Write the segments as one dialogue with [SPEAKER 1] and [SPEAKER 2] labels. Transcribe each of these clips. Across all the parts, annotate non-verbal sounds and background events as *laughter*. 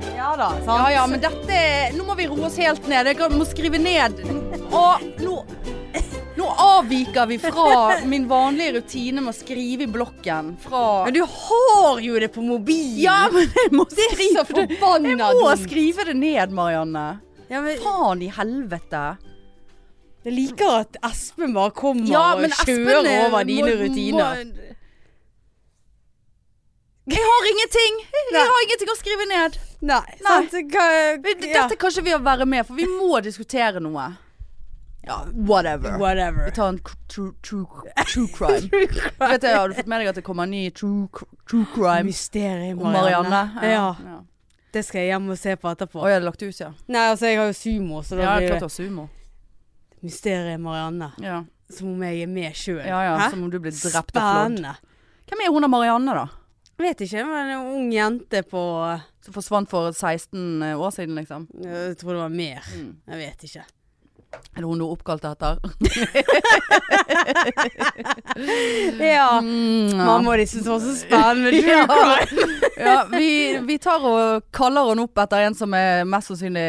[SPEAKER 1] sant?
[SPEAKER 2] Ja, ja, men dette Nå må vi roe oss helt ned. Jeg må skrive ned. Og nå Nå avviker vi fra min vanlige rutine med å skrive i blokken. Fra
[SPEAKER 1] Men du har jo det på mobilen!
[SPEAKER 2] Ja, men jeg må
[SPEAKER 1] det er så
[SPEAKER 2] skrive det. Jeg
[SPEAKER 1] forbanna
[SPEAKER 2] må
[SPEAKER 1] dumt.
[SPEAKER 2] skrive det ned, Marianne.
[SPEAKER 1] Ja, men,
[SPEAKER 2] Faen i helvete.
[SPEAKER 1] jeg liker at Espen bare kommer og
[SPEAKER 2] Espen,
[SPEAKER 1] kjører
[SPEAKER 2] eh,
[SPEAKER 1] over dine
[SPEAKER 2] må-
[SPEAKER 1] rutiner.
[SPEAKER 2] må- Jeg har ingenting. Jeg har ingenting å skrive ned.
[SPEAKER 1] Nei. Sant? Hva, ja.
[SPEAKER 2] Dette kan ikke vi være med, for vi må diskutere noe. Ja, whatever.
[SPEAKER 1] Whatever.
[SPEAKER 2] Vi tar en k- true, true, *laughs* true crime. Vet jeg, har du fått med deg at det kommer en ny true, cr- true crime
[SPEAKER 1] Mysteriet
[SPEAKER 2] om Marianne?
[SPEAKER 1] Ja.
[SPEAKER 2] ja.
[SPEAKER 1] Det skal jeg hjem og se på etterpå.
[SPEAKER 2] Oi, jeg har lagt ut, ja.
[SPEAKER 1] Nei, altså, jeg har jo sumo, så da
[SPEAKER 2] Ja, jeg har
[SPEAKER 1] blir
[SPEAKER 2] klart
[SPEAKER 1] det
[SPEAKER 2] å ha sumo.
[SPEAKER 1] Mysteriet Marianne.
[SPEAKER 2] Ja.
[SPEAKER 1] Som om jeg er med sjøl.
[SPEAKER 2] ja, ja, som om du blir drept av flådd.
[SPEAKER 1] Spennende.
[SPEAKER 2] Hvem er hun av Marianne, da?
[SPEAKER 1] Vet ikke, men en ung jente på
[SPEAKER 2] Som forsvant for 16 år siden, liksom.
[SPEAKER 1] Eh, Jeg tror det var mer.
[SPEAKER 2] Mm.
[SPEAKER 1] Jeg vet ikke.
[SPEAKER 2] Er det hun hun er oppkalt etter? *laughs*
[SPEAKER 1] Ja.
[SPEAKER 2] Mm, ja.
[SPEAKER 1] Mamma og de syntes det var så spennende. *laughs* True crime.
[SPEAKER 2] ja, vi, vi tar og kaller henne opp etter en som er mest sannsynlig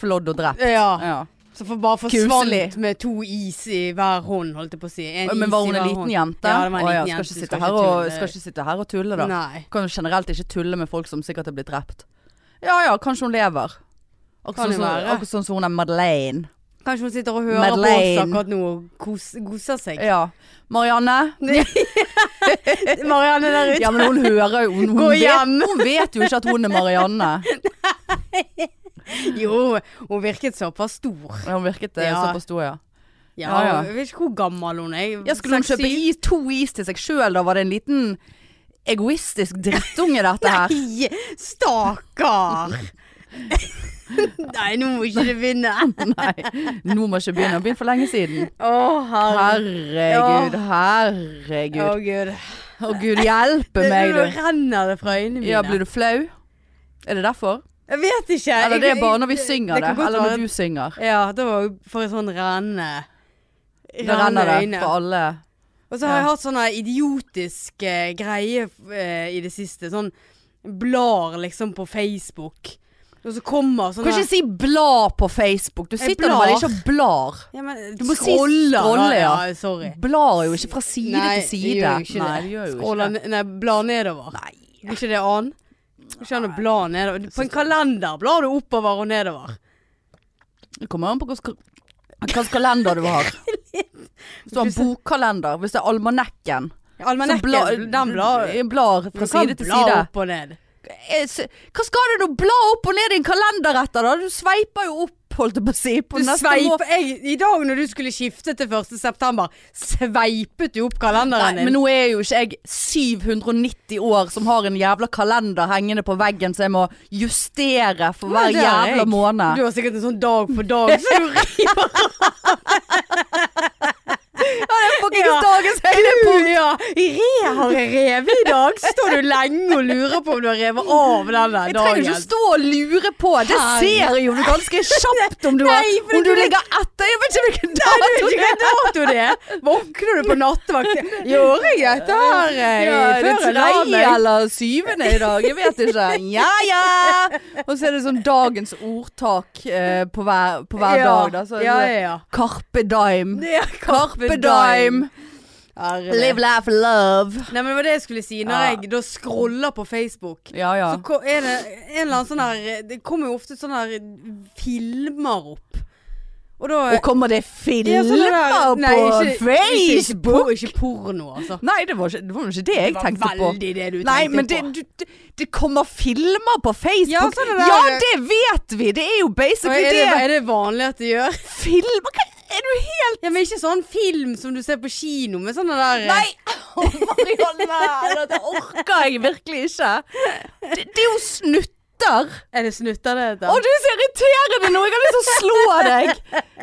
[SPEAKER 2] flådd og drept.
[SPEAKER 1] Ja.
[SPEAKER 2] Ja.
[SPEAKER 1] Så for bare
[SPEAKER 2] Kuselig.
[SPEAKER 1] forsvant med to is i hver hånd, holdt jeg på å si. En
[SPEAKER 2] Men
[SPEAKER 1] is
[SPEAKER 2] var
[SPEAKER 1] i
[SPEAKER 2] hun
[SPEAKER 1] hver
[SPEAKER 2] en liten
[SPEAKER 1] hånd.
[SPEAKER 2] jente?
[SPEAKER 1] Ja, det var en liten
[SPEAKER 2] Å, skal
[SPEAKER 1] jente.
[SPEAKER 2] ikke
[SPEAKER 1] Du
[SPEAKER 2] sitte her og,
[SPEAKER 1] tulle.
[SPEAKER 2] skal ikke sitte her og tulle, da.
[SPEAKER 1] Nei.
[SPEAKER 2] Kan jo generelt ikke tulle med folk som sikkert er blitt drept. Ja ja, kanskje hun lever.
[SPEAKER 1] Kan
[SPEAKER 2] Akkurat
[SPEAKER 1] det
[SPEAKER 2] sånn,
[SPEAKER 1] være.
[SPEAKER 2] akkurat sånn som hun er Madeleine.
[SPEAKER 1] Kanskje hun sitter og hører på
[SPEAKER 2] Madeleine.
[SPEAKER 1] oss akkurat nå og kos, koser seg.
[SPEAKER 2] Ja. *laughs* Marianne?
[SPEAKER 1] Marianne der ute.
[SPEAKER 2] Ja, men hun hører jo hun,
[SPEAKER 1] Gå
[SPEAKER 2] hun, vet,
[SPEAKER 1] hjem.
[SPEAKER 2] hun vet jo ikke at hun er Marianne.
[SPEAKER 1] *laughs*
[SPEAKER 2] *laughs*
[SPEAKER 1] Jo, hun virket såpass stor.
[SPEAKER 2] Ja, Hun virket eh,
[SPEAKER 1] Ja.
[SPEAKER 2] såpass stor, ja.
[SPEAKER 1] Ja,
[SPEAKER 2] Ja, ja.
[SPEAKER 1] Jeg vet ikke hvor gammel hun er.
[SPEAKER 2] ja. Skulle hun
[SPEAKER 1] Seks,
[SPEAKER 2] kjøpe
[SPEAKER 1] syv?
[SPEAKER 2] is, to is til seg sjøl da? Var det en liten egoistisk drittunge dette her?
[SPEAKER 1] Nei, stakkar! Nei, nå må ikke det begynne.
[SPEAKER 2] *laughs* Nei. Nå må jeg ikke begynne. Begynn for lenge siden.
[SPEAKER 1] Å, herre
[SPEAKER 2] Herregud,
[SPEAKER 1] Å,
[SPEAKER 2] herregud.
[SPEAKER 1] gud.
[SPEAKER 2] Å gud, hjelpe meg,
[SPEAKER 1] Nå
[SPEAKER 2] du.
[SPEAKER 1] renner det fra øynene mine.
[SPEAKER 2] Ja, blir du flau? Er det derfor?
[SPEAKER 1] Jeg vet ikke.
[SPEAKER 2] Eller det
[SPEAKER 1] Jeg-
[SPEAKER 2] er bare når vi synger det?
[SPEAKER 1] kan godt
[SPEAKER 2] Eller
[SPEAKER 1] være-
[SPEAKER 2] når du synger?
[SPEAKER 1] Ja, da får jeg sånn renne.
[SPEAKER 2] Da renner det
[SPEAKER 1] øyne.
[SPEAKER 2] fra alle.
[SPEAKER 1] Og så har
[SPEAKER 2] Ja.
[SPEAKER 1] jeg hatt sånne idiotisk eh, greie eh, i det siste. Sånn blar liksom på Facebook. Og så kommer
[SPEAKER 2] Du
[SPEAKER 1] sånne
[SPEAKER 2] kan ikke si bla på Facebook. Du sitter
[SPEAKER 1] blar.
[SPEAKER 2] nå bare ikke og blar.
[SPEAKER 1] ja, men,
[SPEAKER 2] Du må si
[SPEAKER 1] scroller, da.
[SPEAKER 2] scrolle, ja.
[SPEAKER 1] Sorry.
[SPEAKER 2] Blar jo ikke fra side
[SPEAKER 1] Nei,
[SPEAKER 2] til
[SPEAKER 1] det
[SPEAKER 2] side.
[SPEAKER 1] gjør jo ikke
[SPEAKER 2] Nei,
[SPEAKER 1] det.
[SPEAKER 2] det gjør jo ikke
[SPEAKER 1] Scroller
[SPEAKER 2] det.
[SPEAKER 1] ne- Nei, bla nedover.
[SPEAKER 2] Nei.
[SPEAKER 1] Er ikke det an? Ikke an å bla nedover. På en kalender blar du oppover og nedover.
[SPEAKER 2] Det kommer an på hvilken hvilken kalender
[SPEAKER 1] *laughs*
[SPEAKER 2] du har. Hvis du har en bokkalender, hvis det er almanakken, så
[SPEAKER 1] Almanekken,
[SPEAKER 2] blar,
[SPEAKER 1] den blar
[SPEAKER 2] blar
[SPEAKER 1] Du
[SPEAKER 2] fra
[SPEAKER 1] kan
[SPEAKER 2] side til
[SPEAKER 1] bla
[SPEAKER 2] side.
[SPEAKER 1] opp og ned.
[SPEAKER 2] Eh, s- Hva skal du nå bla opp og ned i en kalender etter da? Du sveiper jo opp, holdt jeg på å si. På
[SPEAKER 1] Du
[SPEAKER 2] neste
[SPEAKER 1] sveip,
[SPEAKER 2] måned.
[SPEAKER 1] jeg, I dag når du skulle skifte til 1. september, sveipet du opp
[SPEAKER 2] Nei,
[SPEAKER 1] kalenderen din.
[SPEAKER 2] men nå er jo ikke jeg 790 år som har en jævla kalender hengende på veggen så jeg må justere for hver
[SPEAKER 1] Men det er
[SPEAKER 2] jævla
[SPEAKER 1] jeg.
[SPEAKER 2] måned.
[SPEAKER 1] Du har sikkert en sånn dag for dag, så
[SPEAKER 2] *laughs*
[SPEAKER 1] du river
[SPEAKER 2] Fuckings
[SPEAKER 1] Ja.
[SPEAKER 2] dagens høydepunkt!
[SPEAKER 1] ut. Ja, re, har jeg revet i dag? Så Står du lenge og lurer på om du har revet av denne
[SPEAKER 2] Jeg trenger
[SPEAKER 1] dagen?
[SPEAKER 2] ikke å stå og lure på, det
[SPEAKER 1] Herre.
[SPEAKER 2] ser jo du ganske kjapt om du, har,
[SPEAKER 1] Nei, for
[SPEAKER 2] om
[SPEAKER 1] du
[SPEAKER 2] du
[SPEAKER 1] vet-
[SPEAKER 2] ligger etter. Jeg vet ikke hvilken dag
[SPEAKER 1] Nei, du vet ikke hva dato det er. Våkner du på nattevakt? Gjorde jeg dette her eh,
[SPEAKER 2] ja, er det
[SPEAKER 1] før jeg la
[SPEAKER 2] tredje
[SPEAKER 1] meg?
[SPEAKER 2] eller syvende i dag? Jeg vet ikke. Ja ja! Og så er det sånn dagens ordtak eh, på hver, på hver
[SPEAKER 1] ja.
[SPEAKER 2] dag. Da. Så, sånn
[SPEAKER 1] ja, ja, ja.
[SPEAKER 2] Carpe dime.
[SPEAKER 1] Det er
[SPEAKER 2] Carpe dime.
[SPEAKER 1] Herre.
[SPEAKER 2] Live, laugh, love.
[SPEAKER 1] Nei, men det var det jeg skulle si. Når
[SPEAKER 2] Ja.
[SPEAKER 1] jeg da scroller på Facebook
[SPEAKER 2] Ja ja.
[SPEAKER 1] Så ko- er det en eller annen sånn her Det kommer jo ofte sånne her filmer opp. Og da
[SPEAKER 2] Og kommer det filmer
[SPEAKER 1] Ja, sånne sånn der-
[SPEAKER 2] på
[SPEAKER 1] nei, ikke- Ikke,
[SPEAKER 2] Facebook?
[SPEAKER 1] por- ikke porno, altså.
[SPEAKER 2] Nei, det var ikke det, var ikke det jeg tenkte
[SPEAKER 1] Det
[SPEAKER 2] på.
[SPEAKER 1] var veldig det du tenkte
[SPEAKER 2] Nei, men det,
[SPEAKER 1] på.
[SPEAKER 2] du, det, det kommer filmer på Facebook.
[SPEAKER 1] Ja,
[SPEAKER 2] Ja,
[SPEAKER 1] sånn er det.
[SPEAKER 2] det vet vi! Det er jo
[SPEAKER 1] Og
[SPEAKER 2] basically
[SPEAKER 1] er,
[SPEAKER 2] det.
[SPEAKER 1] det, er det vanlig at de gjør?
[SPEAKER 2] Filmer? Hva er du helt
[SPEAKER 1] Ja, men Ikke sånn film som du ser på kino med sånne der
[SPEAKER 2] Nei! *laughs* Å, *laughs* Marianne! Dette orker jeg virkelig ikke. Det, det er jo snutter.
[SPEAKER 1] Er det snutter det heter?
[SPEAKER 2] Å, du er så irriterende nå! Jeg har lyst til å slå deg.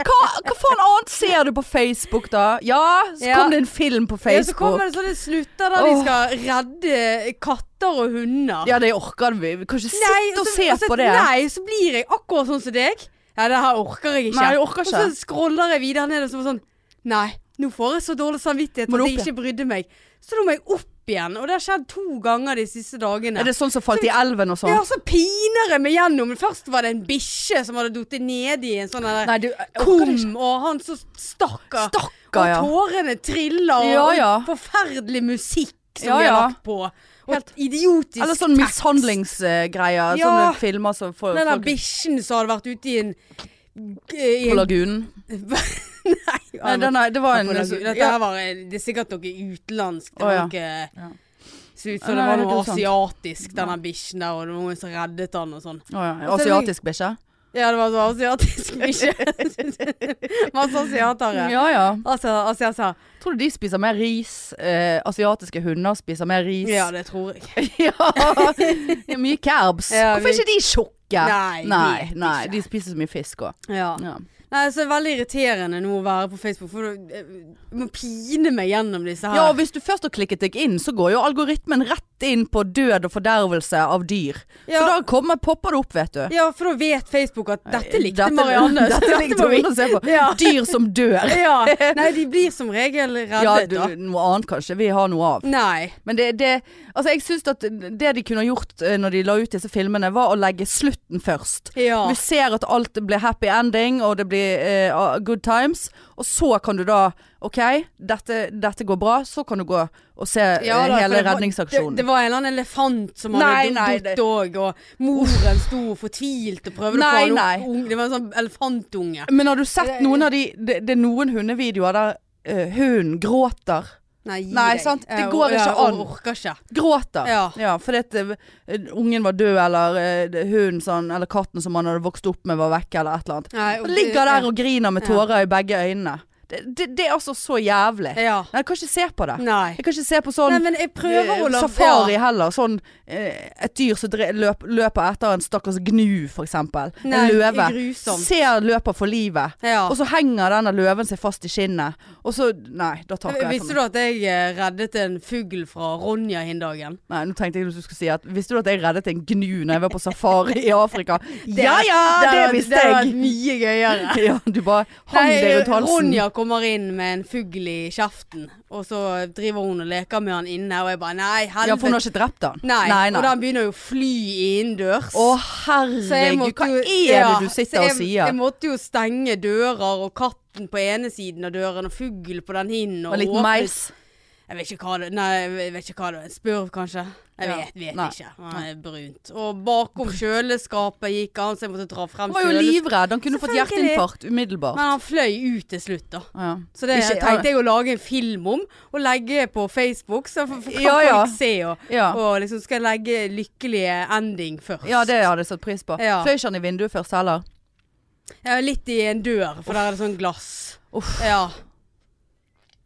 [SPEAKER 2] Hva, hva faen annet ser du på Facebook, da? Ja, så
[SPEAKER 1] Ja.
[SPEAKER 2] kom det en film på
[SPEAKER 1] Ja, så kommer
[SPEAKER 2] Facebook.
[SPEAKER 1] det sånne snutter der de
[SPEAKER 2] Åh.
[SPEAKER 1] skal redde katter og hunder.
[SPEAKER 2] Ja, det altså, orker vi. Vi kan ikke sitte
[SPEAKER 1] Nei,
[SPEAKER 2] og
[SPEAKER 1] så-
[SPEAKER 2] se
[SPEAKER 1] så-
[SPEAKER 2] på det.
[SPEAKER 1] Nei, så blir jeg akkurat sånn som deg. Ja, det her orker jeg ikke.
[SPEAKER 2] Nei, jeg orker
[SPEAKER 1] Og
[SPEAKER 2] ikke.
[SPEAKER 1] så scroller jeg videre ned og så sånn Nei, nå får jeg så dårlig samvittighet
[SPEAKER 2] Må
[SPEAKER 1] at
[SPEAKER 2] du
[SPEAKER 1] jeg
[SPEAKER 2] opp
[SPEAKER 1] ikke brydde meg. Så nå må jeg opp opp igjen. Og det har skjedd to ganger de siste dagene.
[SPEAKER 2] Er det sånn som falt i elven og sånn?
[SPEAKER 1] Ja, så piner jeg meg gjennom. Først var det en bikkje som hadde falt nedi en sånn der
[SPEAKER 2] Nei, du, jeg orker det ikke.
[SPEAKER 1] kum, og han så stakkar.
[SPEAKER 2] Stakkar, ja.
[SPEAKER 1] Og tårene triller, og,
[SPEAKER 2] Ja, ja.
[SPEAKER 1] og forferdelig musikk som
[SPEAKER 2] Ja,
[SPEAKER 1] de har
[SPEAKER 2] ja.
[SPEAKER 1] lagt på. Og Helt idiotisk
[SPEAKER 2] Eller sånn
[SPEAKER 1] tekst.
[SPEAKER 2] mishandlingsgreier.
[SPEAKER 1] Ja.
[SPEAKER 2] Sånne filmer som får
[SPEAKER 1] Den der
[SPEAKER 2] folk
[SPEAKER 1] bikkjen som hadde vært ute i en eh, i *laughs*
[SPEAKER 2] på
[SPEAKER 1] en-
[SPEAKER 2] lagunen.
[SPEAKER 1] Nei,
[SPEAKER 2] Nei, den er, det var en
[SPEAKER 1] på lagunen. Dette
[SPEAKER 2] ja.
[SPEAKER 1] her var eh, Det er sikkert noe utenlandsk. Det
[SPEAKER 2] Å,
[SPEAKER 1] var
[SPEAKER 2] ja.
[SPEAKER 1] noe
[SPEAKER 2] Ja.
[SPEAKER 1] Så ut som
[SPEAKER 2] Nei,
[SPEAKER 1] det var
[SPEAKER 2] det er
[SPEAKER 1] noe
[SPEAKER 2] sant.
[SPEAKER 1] asiatisk, denne bikkjen der, og det var noen som reddet han og sånn.
[SPEAKER 2] Å, ja.
[SPEAKER 1] Og så er det-
[SPEAKER 2] Asiatisk bikkje?
[SPEAKER 1] Ja, det var så *laughs* asiatisk bikkje. *laughs* Masse asiatere.
[SPEAKER 2] Ja ja.
[SPEAKER 1] Altså, altså, altså.
[SPEAKER 2] Tror du de spiser mer ris? Eh, asiatiske hunder spiser mer ris.
[SPEAKER 1] Ja, det tror jeg.
[SPEAKER 2] *laughs* Ja. Det er mye kerbs.
[SPEAKER 1] Ja,
[SPEAKER 2] Hvorfor er
[SPEAKER 1] vi-
[SPEAKER 2] ikke de tjukke?
[SPEAKER 1] Nei, de
[SPEAKER 2] nei,
[SPEAKER 1] vet
[SPEAKER 2] nei,
[SPEAKER 1] ikke. Ah.
[SPEAKER 2] de spiser så mye fisk òg.
[SPEAKER 1] Ja.
[SPEAKER 2] Ja.
[SPEAKER 1] Nei, så det er veldig irriterende nå å være på Facebook, for du eh, må pine meg gjennom disse her.
[SPEAKER 2] ja, og hvis du først har klikket deg inn, så går jo algoritmen rett inn på død og fordervelse av dyr. Så da
[SPEAKER 1] Ja.
[SPEAKER 2] kommer, popper det opp, vet du. Eh,
[SPEAKER 1] ja, for da vet Facebook at dette likte
[SPEAKER 2] Dette-
[SPEAKER 1] Marianne. så
[SPEAKER 2] *laughs* Dette likte
[SPEAKER 1] må vi-
[SPEAKER 2] hun å se på.
[SPEAKER 1] Ja.
[SPEAKER 2] Dyr som
[SPEAKER 1] *laughs*
[SPEAKER 2] dør. *laughs*
[SPEAKER 1] Ja. Nei, de blir som regel reddet,
[SPEAKER 2] Ja, du,
[SPEAKER 1] da.
[SPEAKER 2] noe annet kanskje. Vi har noe av.
[SPEAKER 1] Nei.
[SPEAKER 2] Men det, det Altså, jeg syns at det de kunne gjort eh, når de la ut disse filmene, var å legge slutten først.
[SPEAKER 1] Ja.
[SPEAKER 2] Vi ser at alt blir happy ending, og det blir eh, ah, good times. Og så kan du da OK, dette, dette går bra. Så kan du gå og se eh,
[SPEAKER 1] Ja, da, for
[SPEAKER 2] hele
[SPEAKER 1] det var-
[SPEAKER 2] redningsaksjonen.
[SPEAKER 1] Det, det var en eller annen elefant som
[SPEAKER 2] Nei,
[SPEAKER 1] hadde
[SPEAKER 2] nei,
[SPEAKER 1] dødd òg, og moren sto fortvilt og prøvde
[SPEAKER 2] Nei,
[SPEAKER 1] å få
[SPEAKER 2] nei.
[SPEAKER 1] han opp. Det var en sånn elefantunge.
[SPEAKER 2] Men har du sett noen av de Det, det er noen hundevideoer der eh, hunden gråter.
[SPEAKER 1] Nei, gi
[SPEAKER 2] Nei,
[SPEAKER 1] deg.
[SPEAKER 2] sant? Det
[SPEAKER 1] Jeg
[SPEAKER 2] går
[SPEAKER 1] or- ja,
[SPEAKER 2] ikke an.
[SPEAKER 1] Jeg orker ikke.
[SPEAKER 2] Gråter.
[SPEAKER 1] Ja.
[SPEAKER 2] fordi at eh, ungen var død, eller eh, det- hunden sånn, eller katten som han hadde vokst opp med, var vekke, eller et eller annet.
[SPEAKER 1] Nei,
[SPEAKER 2] Han ligger der og griner med
[SPEAKER 1] Ja.
[SPEAKER 2] tårer i begge øynene. Det, det, det er altså så jævlig.
[SPEAKER 1] Ja.
[SPEAKER 2] Nei, jeg kan ikke se på det.
[SPEAKER 1] Nei.
[SPEAKER 2] Jeg kan ikke se på
[SPEAKER 1] Nei,
[SPEAKER 2] sånn
[SPEAKER 1] men jeg prøver å la
[SPEAKER 2] safari heller. Sånn eh, et dyr som dre- løp, løper etter en stakkars gnu, for eksempel.
[SPEAKER 1] Nei,
[SPEAKER 2] en løve.
[SPEAKER 1] grusomt.
[SPEAKER 2] Ser løper for livet.
[SPEAKER 1] Ja.
[SPEAKER 2] Og så henger denne løven seg fast i skinnet. Og så Nei, da takker jeg sånn-
[SPEAKER 1] Visste
[SPEAKER 2] for
[SPEAKER 1] du
[SPEAKER 2] meg.
[SPEAKER 1] at jeg eh, reddet en fugl fra Ronja hin dagen?
[SPEAKER 2] Nei, nå tenkte jeg at du skulle si at Visste du at jeg reddet en gnu når jeg var på safari i
[SPEAKER 1] *laughs*
[SPEAKER 2] Afrika? ja ja, det,
[SPEAKER 1] hadde-
[SPEAKER 2] visste
[SPEAKER 1] Det
[SPEAKER 2] jeg! *laughs*
[SPEAKER 1] var mye gøyere.
[SPEAKER 2] Ja, du bare hang
[SPEAKER 1] Nei,
[SPEAKER 2] deg rundt halsen.
[SPEAKER 1] Ronja kommer inn med en fugl i kjeften, og så driver hun og leker med han inne, og jeg bare nei, helvete.
[SPEAKER 2] Ja, for hun har ikke drept han.
[SPEAKER 1] Nei,
[SPEAKER 2] nei. nei.
[SPEAKER 1] og den begynner jo å fly innendørs.
[SPEAKER 2] Å herregud, hva er det
[SPEAKER 1] ja,
[SPEAKER 2] du sitter
[SPEAKER 1] så jeg,
[SPEAKER 2] og sier?
[SPEAKER 1] Jeg måtte jo stenge dører, og katten på ene siden av døren, og fugl på den hinnen.
[SPEAKER 2] Og en liten
[SPEAKER 1] åpne-
[SPEAKER 2] meis.
[SPEAKER 1] Jeg vet ikke hva det Nei, jeg vet ikke hva det En spurv, kanskje? Jeg
[SPEAKER 2] Ja.
[SPEAKER 1] vet, vet
[SPEAKER 2] Nei.
[SPEAKER 1] ikke. Han er brunt. Og bakom kjøleskapet gikk han, så jeg måtte dra frem
[SPEAKER 2] Han var jo
[SPEAKER 1] kjøleskapet.
[SPEAKER 2] livredd. Han kunne fått
[SPEAKER 1] Selvfølgelig.
[SPEAKER 2] hjerteinfarkt umiddelbart.
[SPEAKER 1] Men han fløy ut til slutt, da.
[SPEAKER 2] Ja.
[SPEAKER 1] Så det
[SPEAKER 2] Ikke-
[SPEAKER 1] tenkte jeg å lage en film om, og legge på Facebook, så f- f- kan
[SPEAKER 2] Ja, ja.
[SPEAKER 1] folk se. Og,
[SPEAKER 2] Ja.
[SPEAKER 1] og liksom skal jeg legge lykkelige ending først.
[SPEAKER 2] ja, det hadde jeg satt pris på.
[SPEAKER 1] Ja.
[SPEAKER 2] Fløy ikke han i vinduet først heller?
[SPEAKER 1] Ja, litt i en dør, for der er det sånn glass.
[SPEAKER 2] Uff.
[SPEAKER 1] Ja.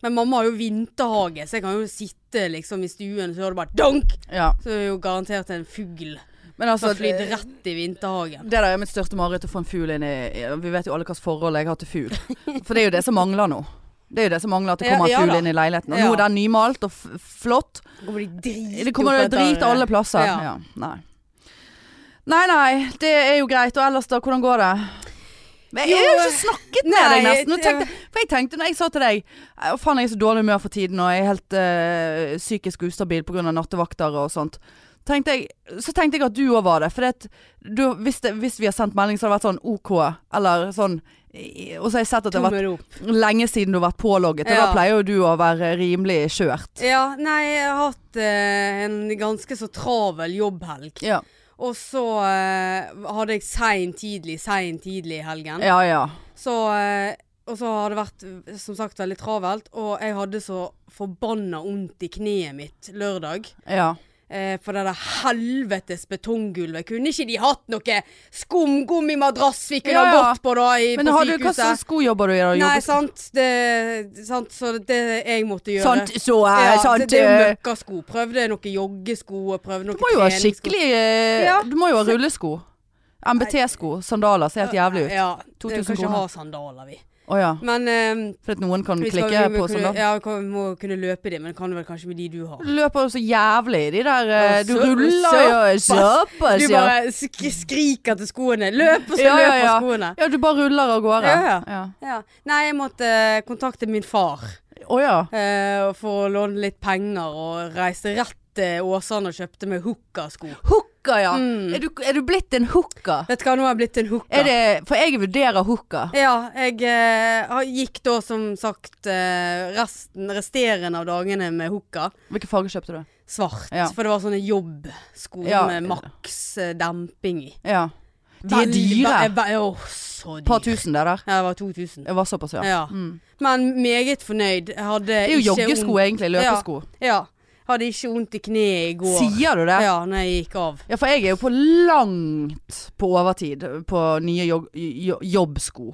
[SPEAKER 1] Men mamma har jo vinterhage, så jeg kan jo sitte liksom i stuen, så hører du bare dunk!
[SPEAKER 2] Ja.
[SPEAKER 1] Så er det jo garantert en fugl
[SPEAKER 2] Men altså
[SPEAKER 1] som flyr
[SPEAKER 2] det,
[SPEAKER 1] rett i vinterhagen.
[SPEAKER 2] det der er mitt største mareritt å få en fugl inn i Vi vet jo alle hvilket forhold jeg har til fugl. For det er jo det som mangler nå. Det er jo det som mangler, at det
[SPEAKER 1] Ja,
[SPEAKER 2] kommer en
[SPEAKER 1] ja
[SPEAKER 2] fugl
[SPEAKER 1] da.
[SPEAKER 2] inn i leiligheten. Og
[SPEAKER 1] Ja.
[SPEAKER 2] nå er den nymalt og f flott.
[SPEAKER 1] Det kommer de drit
[SPEAKER 2] Det kommer
[SPEAKER 1] opp
[SPEAKER 2] jo drit
[SPEAKER 1] etter-
[SPEAKER 2] alle plasser.
[SPEAKER 1] Ja.
[SPEAKER 2] Ja. Nei. nei, nei. Det er jo greit. Og ellers da, hvordan går det? Men jeg har jo
[SPEAKER 1] Jo,
[SPEAKER 2] ikke snakket med deg
[SPEAKER 1] nei,
[SPEAKER 2] nesten. Nå
[SPEAKER 1] det-
[SPEAKER 2] tenkte, for jeg tenkte når jeg sa til deg «Å, Faen, jeg er så dårlig humør for tiden, og jeg er helt eh, psykisk ustabil pga. nattevakter og sånt. Tenkte jeg, så tenkte jeg at du òg var det. For det, at du, hvis, det, hvis vi har sendt melding, så har det vært sånn OK, eller sånn eh, Og så har jeg sett at det har vært
[SPEAKER 1] Tommel opp.
[SPEAKER 2] lenge siden du har vært pålogget, og
[SPEAKER 1] Ja.
[SPEAKER 2] da pleier jo du å være rimelig kjørt.
[SPEAKER 1] Ja, nei, jeg har hatt eh, en ganske så travel jobbhelg.
[SPEAKER 2] Ja.
[SPEAKER 1] Og så eh, hadde jeg sein tidlig, sein tidlig i helgen.
[SPEAKER 2] Ja ja.
[SPEAKER 1] Så, eh, og så har det vært eh, som sagt veldig travelt. Og jeg hadde så forbanna vondt i kneet mitt lørdag.
[SPEAKER 2] ja.
[SPEAKER 1] Eh, for det der helvetes betonggulvet. Kunne ikke de hatt noe skumgummimadrass vi kunne
[SPEAKER 2] Ja,
[SPEAKER 1] ha
[SPEAKER 2] ja.
[SPEAKER 1] gått på da i,
[SPEAKER 2] Men
[SPEAKER 1] på
[SPEAKER 2] har du, hva slags
[SPEAKER 1] sykehuset?
[SPEAKER 2] sko jobber du i? da?
[SPEAKER 1] Nei, sånn
[SPEAKER 2] Jobber-
[SPEAKER 1] sant. Det, sant. Så det jeg måtte gjøre
[SPEAKER 2] Sant, Sånn så er
[SPEAKER 1] Ja,
[SPEAKER 2] sant.
[SPEAKER 1] det, det er
[SPEAKER 2] eh,
[SPEAKER 1] møkkasko. Prøvde noen joggesko og prøvde noen
[SPEAKER 2] du må jo ha
[SPEAKER 1] treningssko.
[SPEAKER 2] skikkelig eh,
[SPEAKER 1] Ja.
[SPEAKER 2] Du må jo ha rullesko. MBT-sko. Sandaler ser helt jævlig ut.
[SPEAKER 1] Ja,
[SPEAKER 2] 2000
[SPEAKER 1] vi kan ikke
[SPEAKER 2] kroner.
[SPEAKER 1] ha sandaler, vi.
[SPEAKER 2] Å ja.
[SPEAKER 1] Men eh,
[SPEAKER 2] For at noen kan
[SPEAKER 1] vi skal- vi
[SPEAKER 2] klikke
[SPEAKER 1] må
[SPEAKER 2] på
[SPEAKER 1] kunne,
[SPEAKER 2] sandaler.
[SPEAKER 1] Ja, vi kan- må kunne løpe de, men kan vel kanskje med de du har.
[SPEAKER 2] Du løper jo så jævlig i de der eh,
[SPEAKER 1] Ja,
[SPEAKER 2] Du
[SPEAKER 1] så-
[SPEAKER 2] ruller jo såpass,
[SPEAKER 1] Du
[SPEAKER 2] ja.
[SPEAKER 1] bare sk skriker til skoene. Løp, og så
[SPEAKER 2] Ja, ja,
[SPEAKER 1] løper
[SPEAKER 2] ja.
[SPEAKER 1] skoene.
[SPEAKER 2] Ja, du bare ruller av gårde.
[SPEAKER 1] Ja, ja.
[SPEAKER 2] Ja.
[SPEAKER 1] Ja. Nei, jeg måtte eh, kontakte min far.
[SPEAKER 2] Å ja.
[SPEAKER 1] eh, for å låne litt penger og reiste rett til Åsane og kjøpte meg hookersko.
[SPEAKER 2] Hooker, ja.
[SPEAKER 1] Mm.
[SPEAKER 2] Er, du, er du blitt en hooker?
[SPEAKER 1] Vet du hva, nå har jeg blitt en hooker.
[SPEAKER 2] Er det, for jeg vurderer hooker.
[SPEAKER 1] Ja, jeg eh, har- gikk da som sagt eh, resten, resterende av dagene med hooka.
[SPEAKER 2] Hvilken farge kjøpte du?
[SPEAKER 1] Svart.
[SPEAKER 2] Ja.
[SPEAKER 1] For det var sånne jobbsko
[SPEAKER 2] Ja.
[SPEAKER 1] med maks eh, demping i.
[SPEAKER 2] Ja. De er
[SPEAKER 1] Veldig- ve-
[SPEAKER 2] dyre.
[SPEAKER 1] ve- Åh, så
[SPEAKER 2] Et par
[SPEAKER 1] dyre.
[SPEAKER 2] tusen der der.
[SPEAKER 1] Ja, det var 2000.
[SPEAKER 2] Det var såpass, ja.
[SPEAKER 1] Ja.
[SPEAKER 2] Mm.
[SPEAKER 1] Men meget fornøyd. Jeg hadde
[SPEAKER 2] Det er jo
[SPEAKER 1] ikke
[SPEAKER 2] joggesko,
[SPEAKER 1] vondt-
[SPEAKER 2] egentlig. Løpesko.
[SPEAKER 1] Ja. Hadde ikke vondt i kneet i går.
[SPEAKER 2] Sier du det?
[SPEAKER 1] Ja, når jeg gikk av.
[SPEAKER 2] Ja, for jeg er jo på langt på overtid på nye jog jo jobbsko.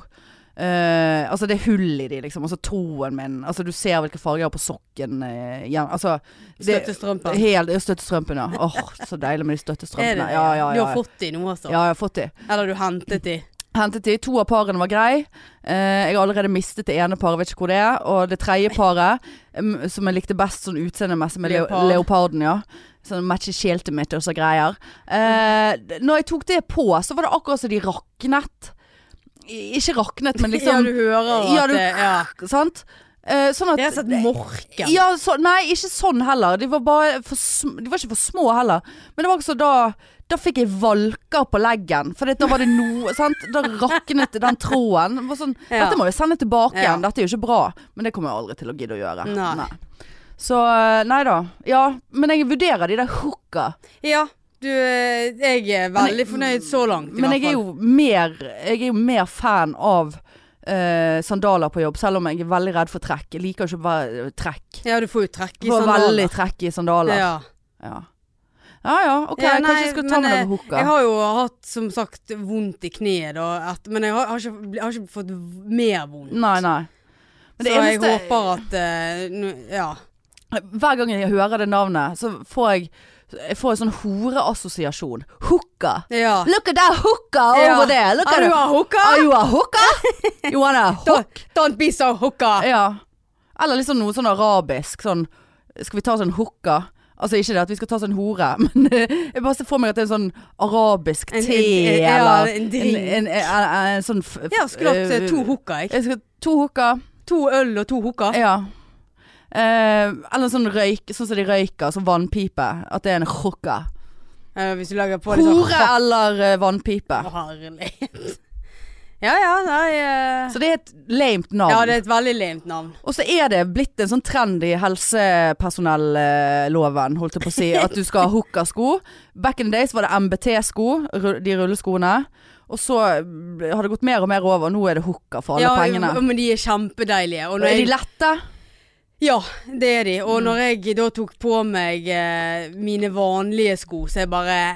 [SPEAKER 2] Eh, altså det er hull i de, liksom. Altså tåen min. Altså du ser hvilke farger jeg har på sokken. eh, igjen. altså, det,
[SPEAKER 1] Støttestrømper.
[SPEAKER 2] helt, ja, støttestrømpene. ja. Åh, så deilig
[SPEAKER 1] *laughs*
[SPEAKER 2] med de
[SPEAKER 1] Er det
[SPEAKER 2] støttestrømpene.
[SPEAKER 1] det?
[SPEAKER 2] Ja, ja, ja.
[SPEAKER 1] Du
[SPEAKER 2] ja.
[SPEAKER 1] har fått de nå, altså?
[SPEAKER 2] ja, jeg har fått de.
[SPEAKER 1] Eller du hentet de?
[SPEAKER 2] Hentet de. To av parene var grei. Eh, jeg har allerede mistet det ene paret, vet ikke hvor det er. Og det tredje paret, em, som jeg likte best sånn utseendemessig med leo
[SPEAKER 1] Leopard.
[SPEAKER 2] leoparden, ja. Sånn matcher skjeltet mitt og så greier. Eh, d- når jeg tok det på, så var det akkurat som de raknet. I, ikke raknet,
[SPEAKER 1] *laughs*
[SPEAKER 2] men
[SPEAKER 1] ja,
[SPEAKER 2] liksom
[SPEAKER 1] du hører
[SPEAKER 2] Ja,
[SPEAKER 1] at
[SPEAKER 2] du-
[SPEAKER 1] det ja.
[SPEAKER 2] Sant? Eh, sånn at
[SPEAKER 1] Det er sett morken.
[SPEAKER 2] ja, så, nei, ikke sånn heller. De var, bare for, sm- de var ikke for små heller. Men det var også da Da fikk jeg valker på leggen. For det- da var det noe *laughs* sant? Da raknet den tråden. Det var Sånn,
[SPEAKER 1] Ja.
[SPEAKER 2] Dette må jeg sende tilbake
[SPEAKER 1] Ja.
[SPEAKER 2] igjen. Dette er jo ikke bra. Men det kommer jeg aldri til å gidde å gjøre.
[SPEAKER 1] Nei.
[SPEAKER 2] Så eh, nei da. Ja, men jeg vurderer de der hooka.
[SPEAKER 1] Ja, du, eh, jeg er veldig fornøyd så langt i
[SPEAKER 2] Men
[SPEAKER 1] hvert
[SPEAKER 2] jeg er
[SPEAKER 1] fall.
[SPEAKER 2] jo mer, jeg er jo mer fan av eh, sandaler på jobb, selv om jeg er veldig redd for trekk. Jeg liker jo ikke å være eh, trekk.
[SPEAKER 1] Ja, du får jo trekke i
[SPEAKER 2] Får
[SPEAKER 1] sandaler.
[SPEAKER 2] veldig trekk i sandaler.
[SPEAKER 1] Ja.
[SPEAKER 2] Ja. Ja ja, ok,
[SPEAKER 1] Ja, nei,
[SPEAKER 2] kanskje jeg skal ta
[SPEAKER 1] men,
[SPEAKER 2] med
[SPEAKER 1] eh,
[SPEAKER 2] noen hooker.
[SPEAKER 1] Jeg har jo hatt, som sagt, vondt i kneet da, et, men jeg har, har, ikke, bl- har ikke fått v- mer vondt.
[SPEAKER 2] Nei, nei. Men det
[SPEAKER 1] så
[SPEAKER 2] eneste,
[SPEAKER 1] jeg håper at eh, nå- Ja.
[SPEAKER 2] Hver gang jeg hører det navnet, så får jeg, jeg får en sånn horeassosiasjon. Hooker.
[SPEAKER 1] ja.
[SPEAKER 2] Look at that hooker
[SPEAKER 1] Ja.
[SPEAKER 2] over there. Look
[SPEAKER 1] Are
[SPEAKER 2] at
[SPEAKER 1] you a
[SPEAKER 2] that.
[SPEAKER 1] hooker?
[SPEAKER 2] Are you a
[SPEAKER 1] *laughs*
[SPEAKER 2] hooker? You wanna hook?
[SPEAKER 1] Don't, don't be so hooker.
[SPEAKER 2] Ja. Eller liksom noe sånn arabisk. Sånn Skal vi ta oss en hooker? Altså ikke det at vi skal ta oss en hore, *laughs* men eh, jeg bare ser for meg at det er en sånn arabisk
[SPEAKER 1] En- en-
[SPEAKER 2] te
[SPEAKER 1] en- ja,
[SPEAKER 2] eller
[SPEAKER 1] en
[SPEAKER 2] en,
[SPEAKER 1] drink.
[SPEAKER 2] en, en, en, en sånn f-
[SPEAKER 1] Jeg har skulle hatt eh,
[SPEAKER 2] eh,
[SPEAKER 1] to hooker, jeg.
[SPEAKER 2] Jeg skal to hooker.
[SPEAKER 1] To øl og to hooker.
[SPEAKER 2] Ja. Eh, eller sånn røyk, sånn som de røyker, sånn vannpipe. At det er en hooker.
[SPEAKER 1] Eh, hvis du lager på litt sånn
[SPEAKER 2] Hore eller eh, vannpipe.
[SPEAKER 1] Herlighet. Ja ja, nei eh,
[SPEAKER 2] Så det er et lamet navn.
[SPEAKER 1] Ja, det er et veldig lamt navn.
[SPEAKER 2] Og så er det blitt en sånn trend i helsepersonelloven, holdt jeg på å si, at du skal ha hookersko. Back in the days var det MBT-sko, ru- de rulleskoene. Og så eh, har det gått mer og mer over, og nå er det hooker for alle
[SPEAKER 1] ja,
[SPEAKER 2] pengene.
[SPEAKER 1] jo, Men de er kjempedeilige. Og når
[SPEAKER 2] Er de Mm.
[SPEAKER 1] jeg-
[SPEAKER 2] lette?
[SPEAKER 1] Ja, det er de. Og når jeg da tok på meg eh, mine vanlige sko, så er jeg bare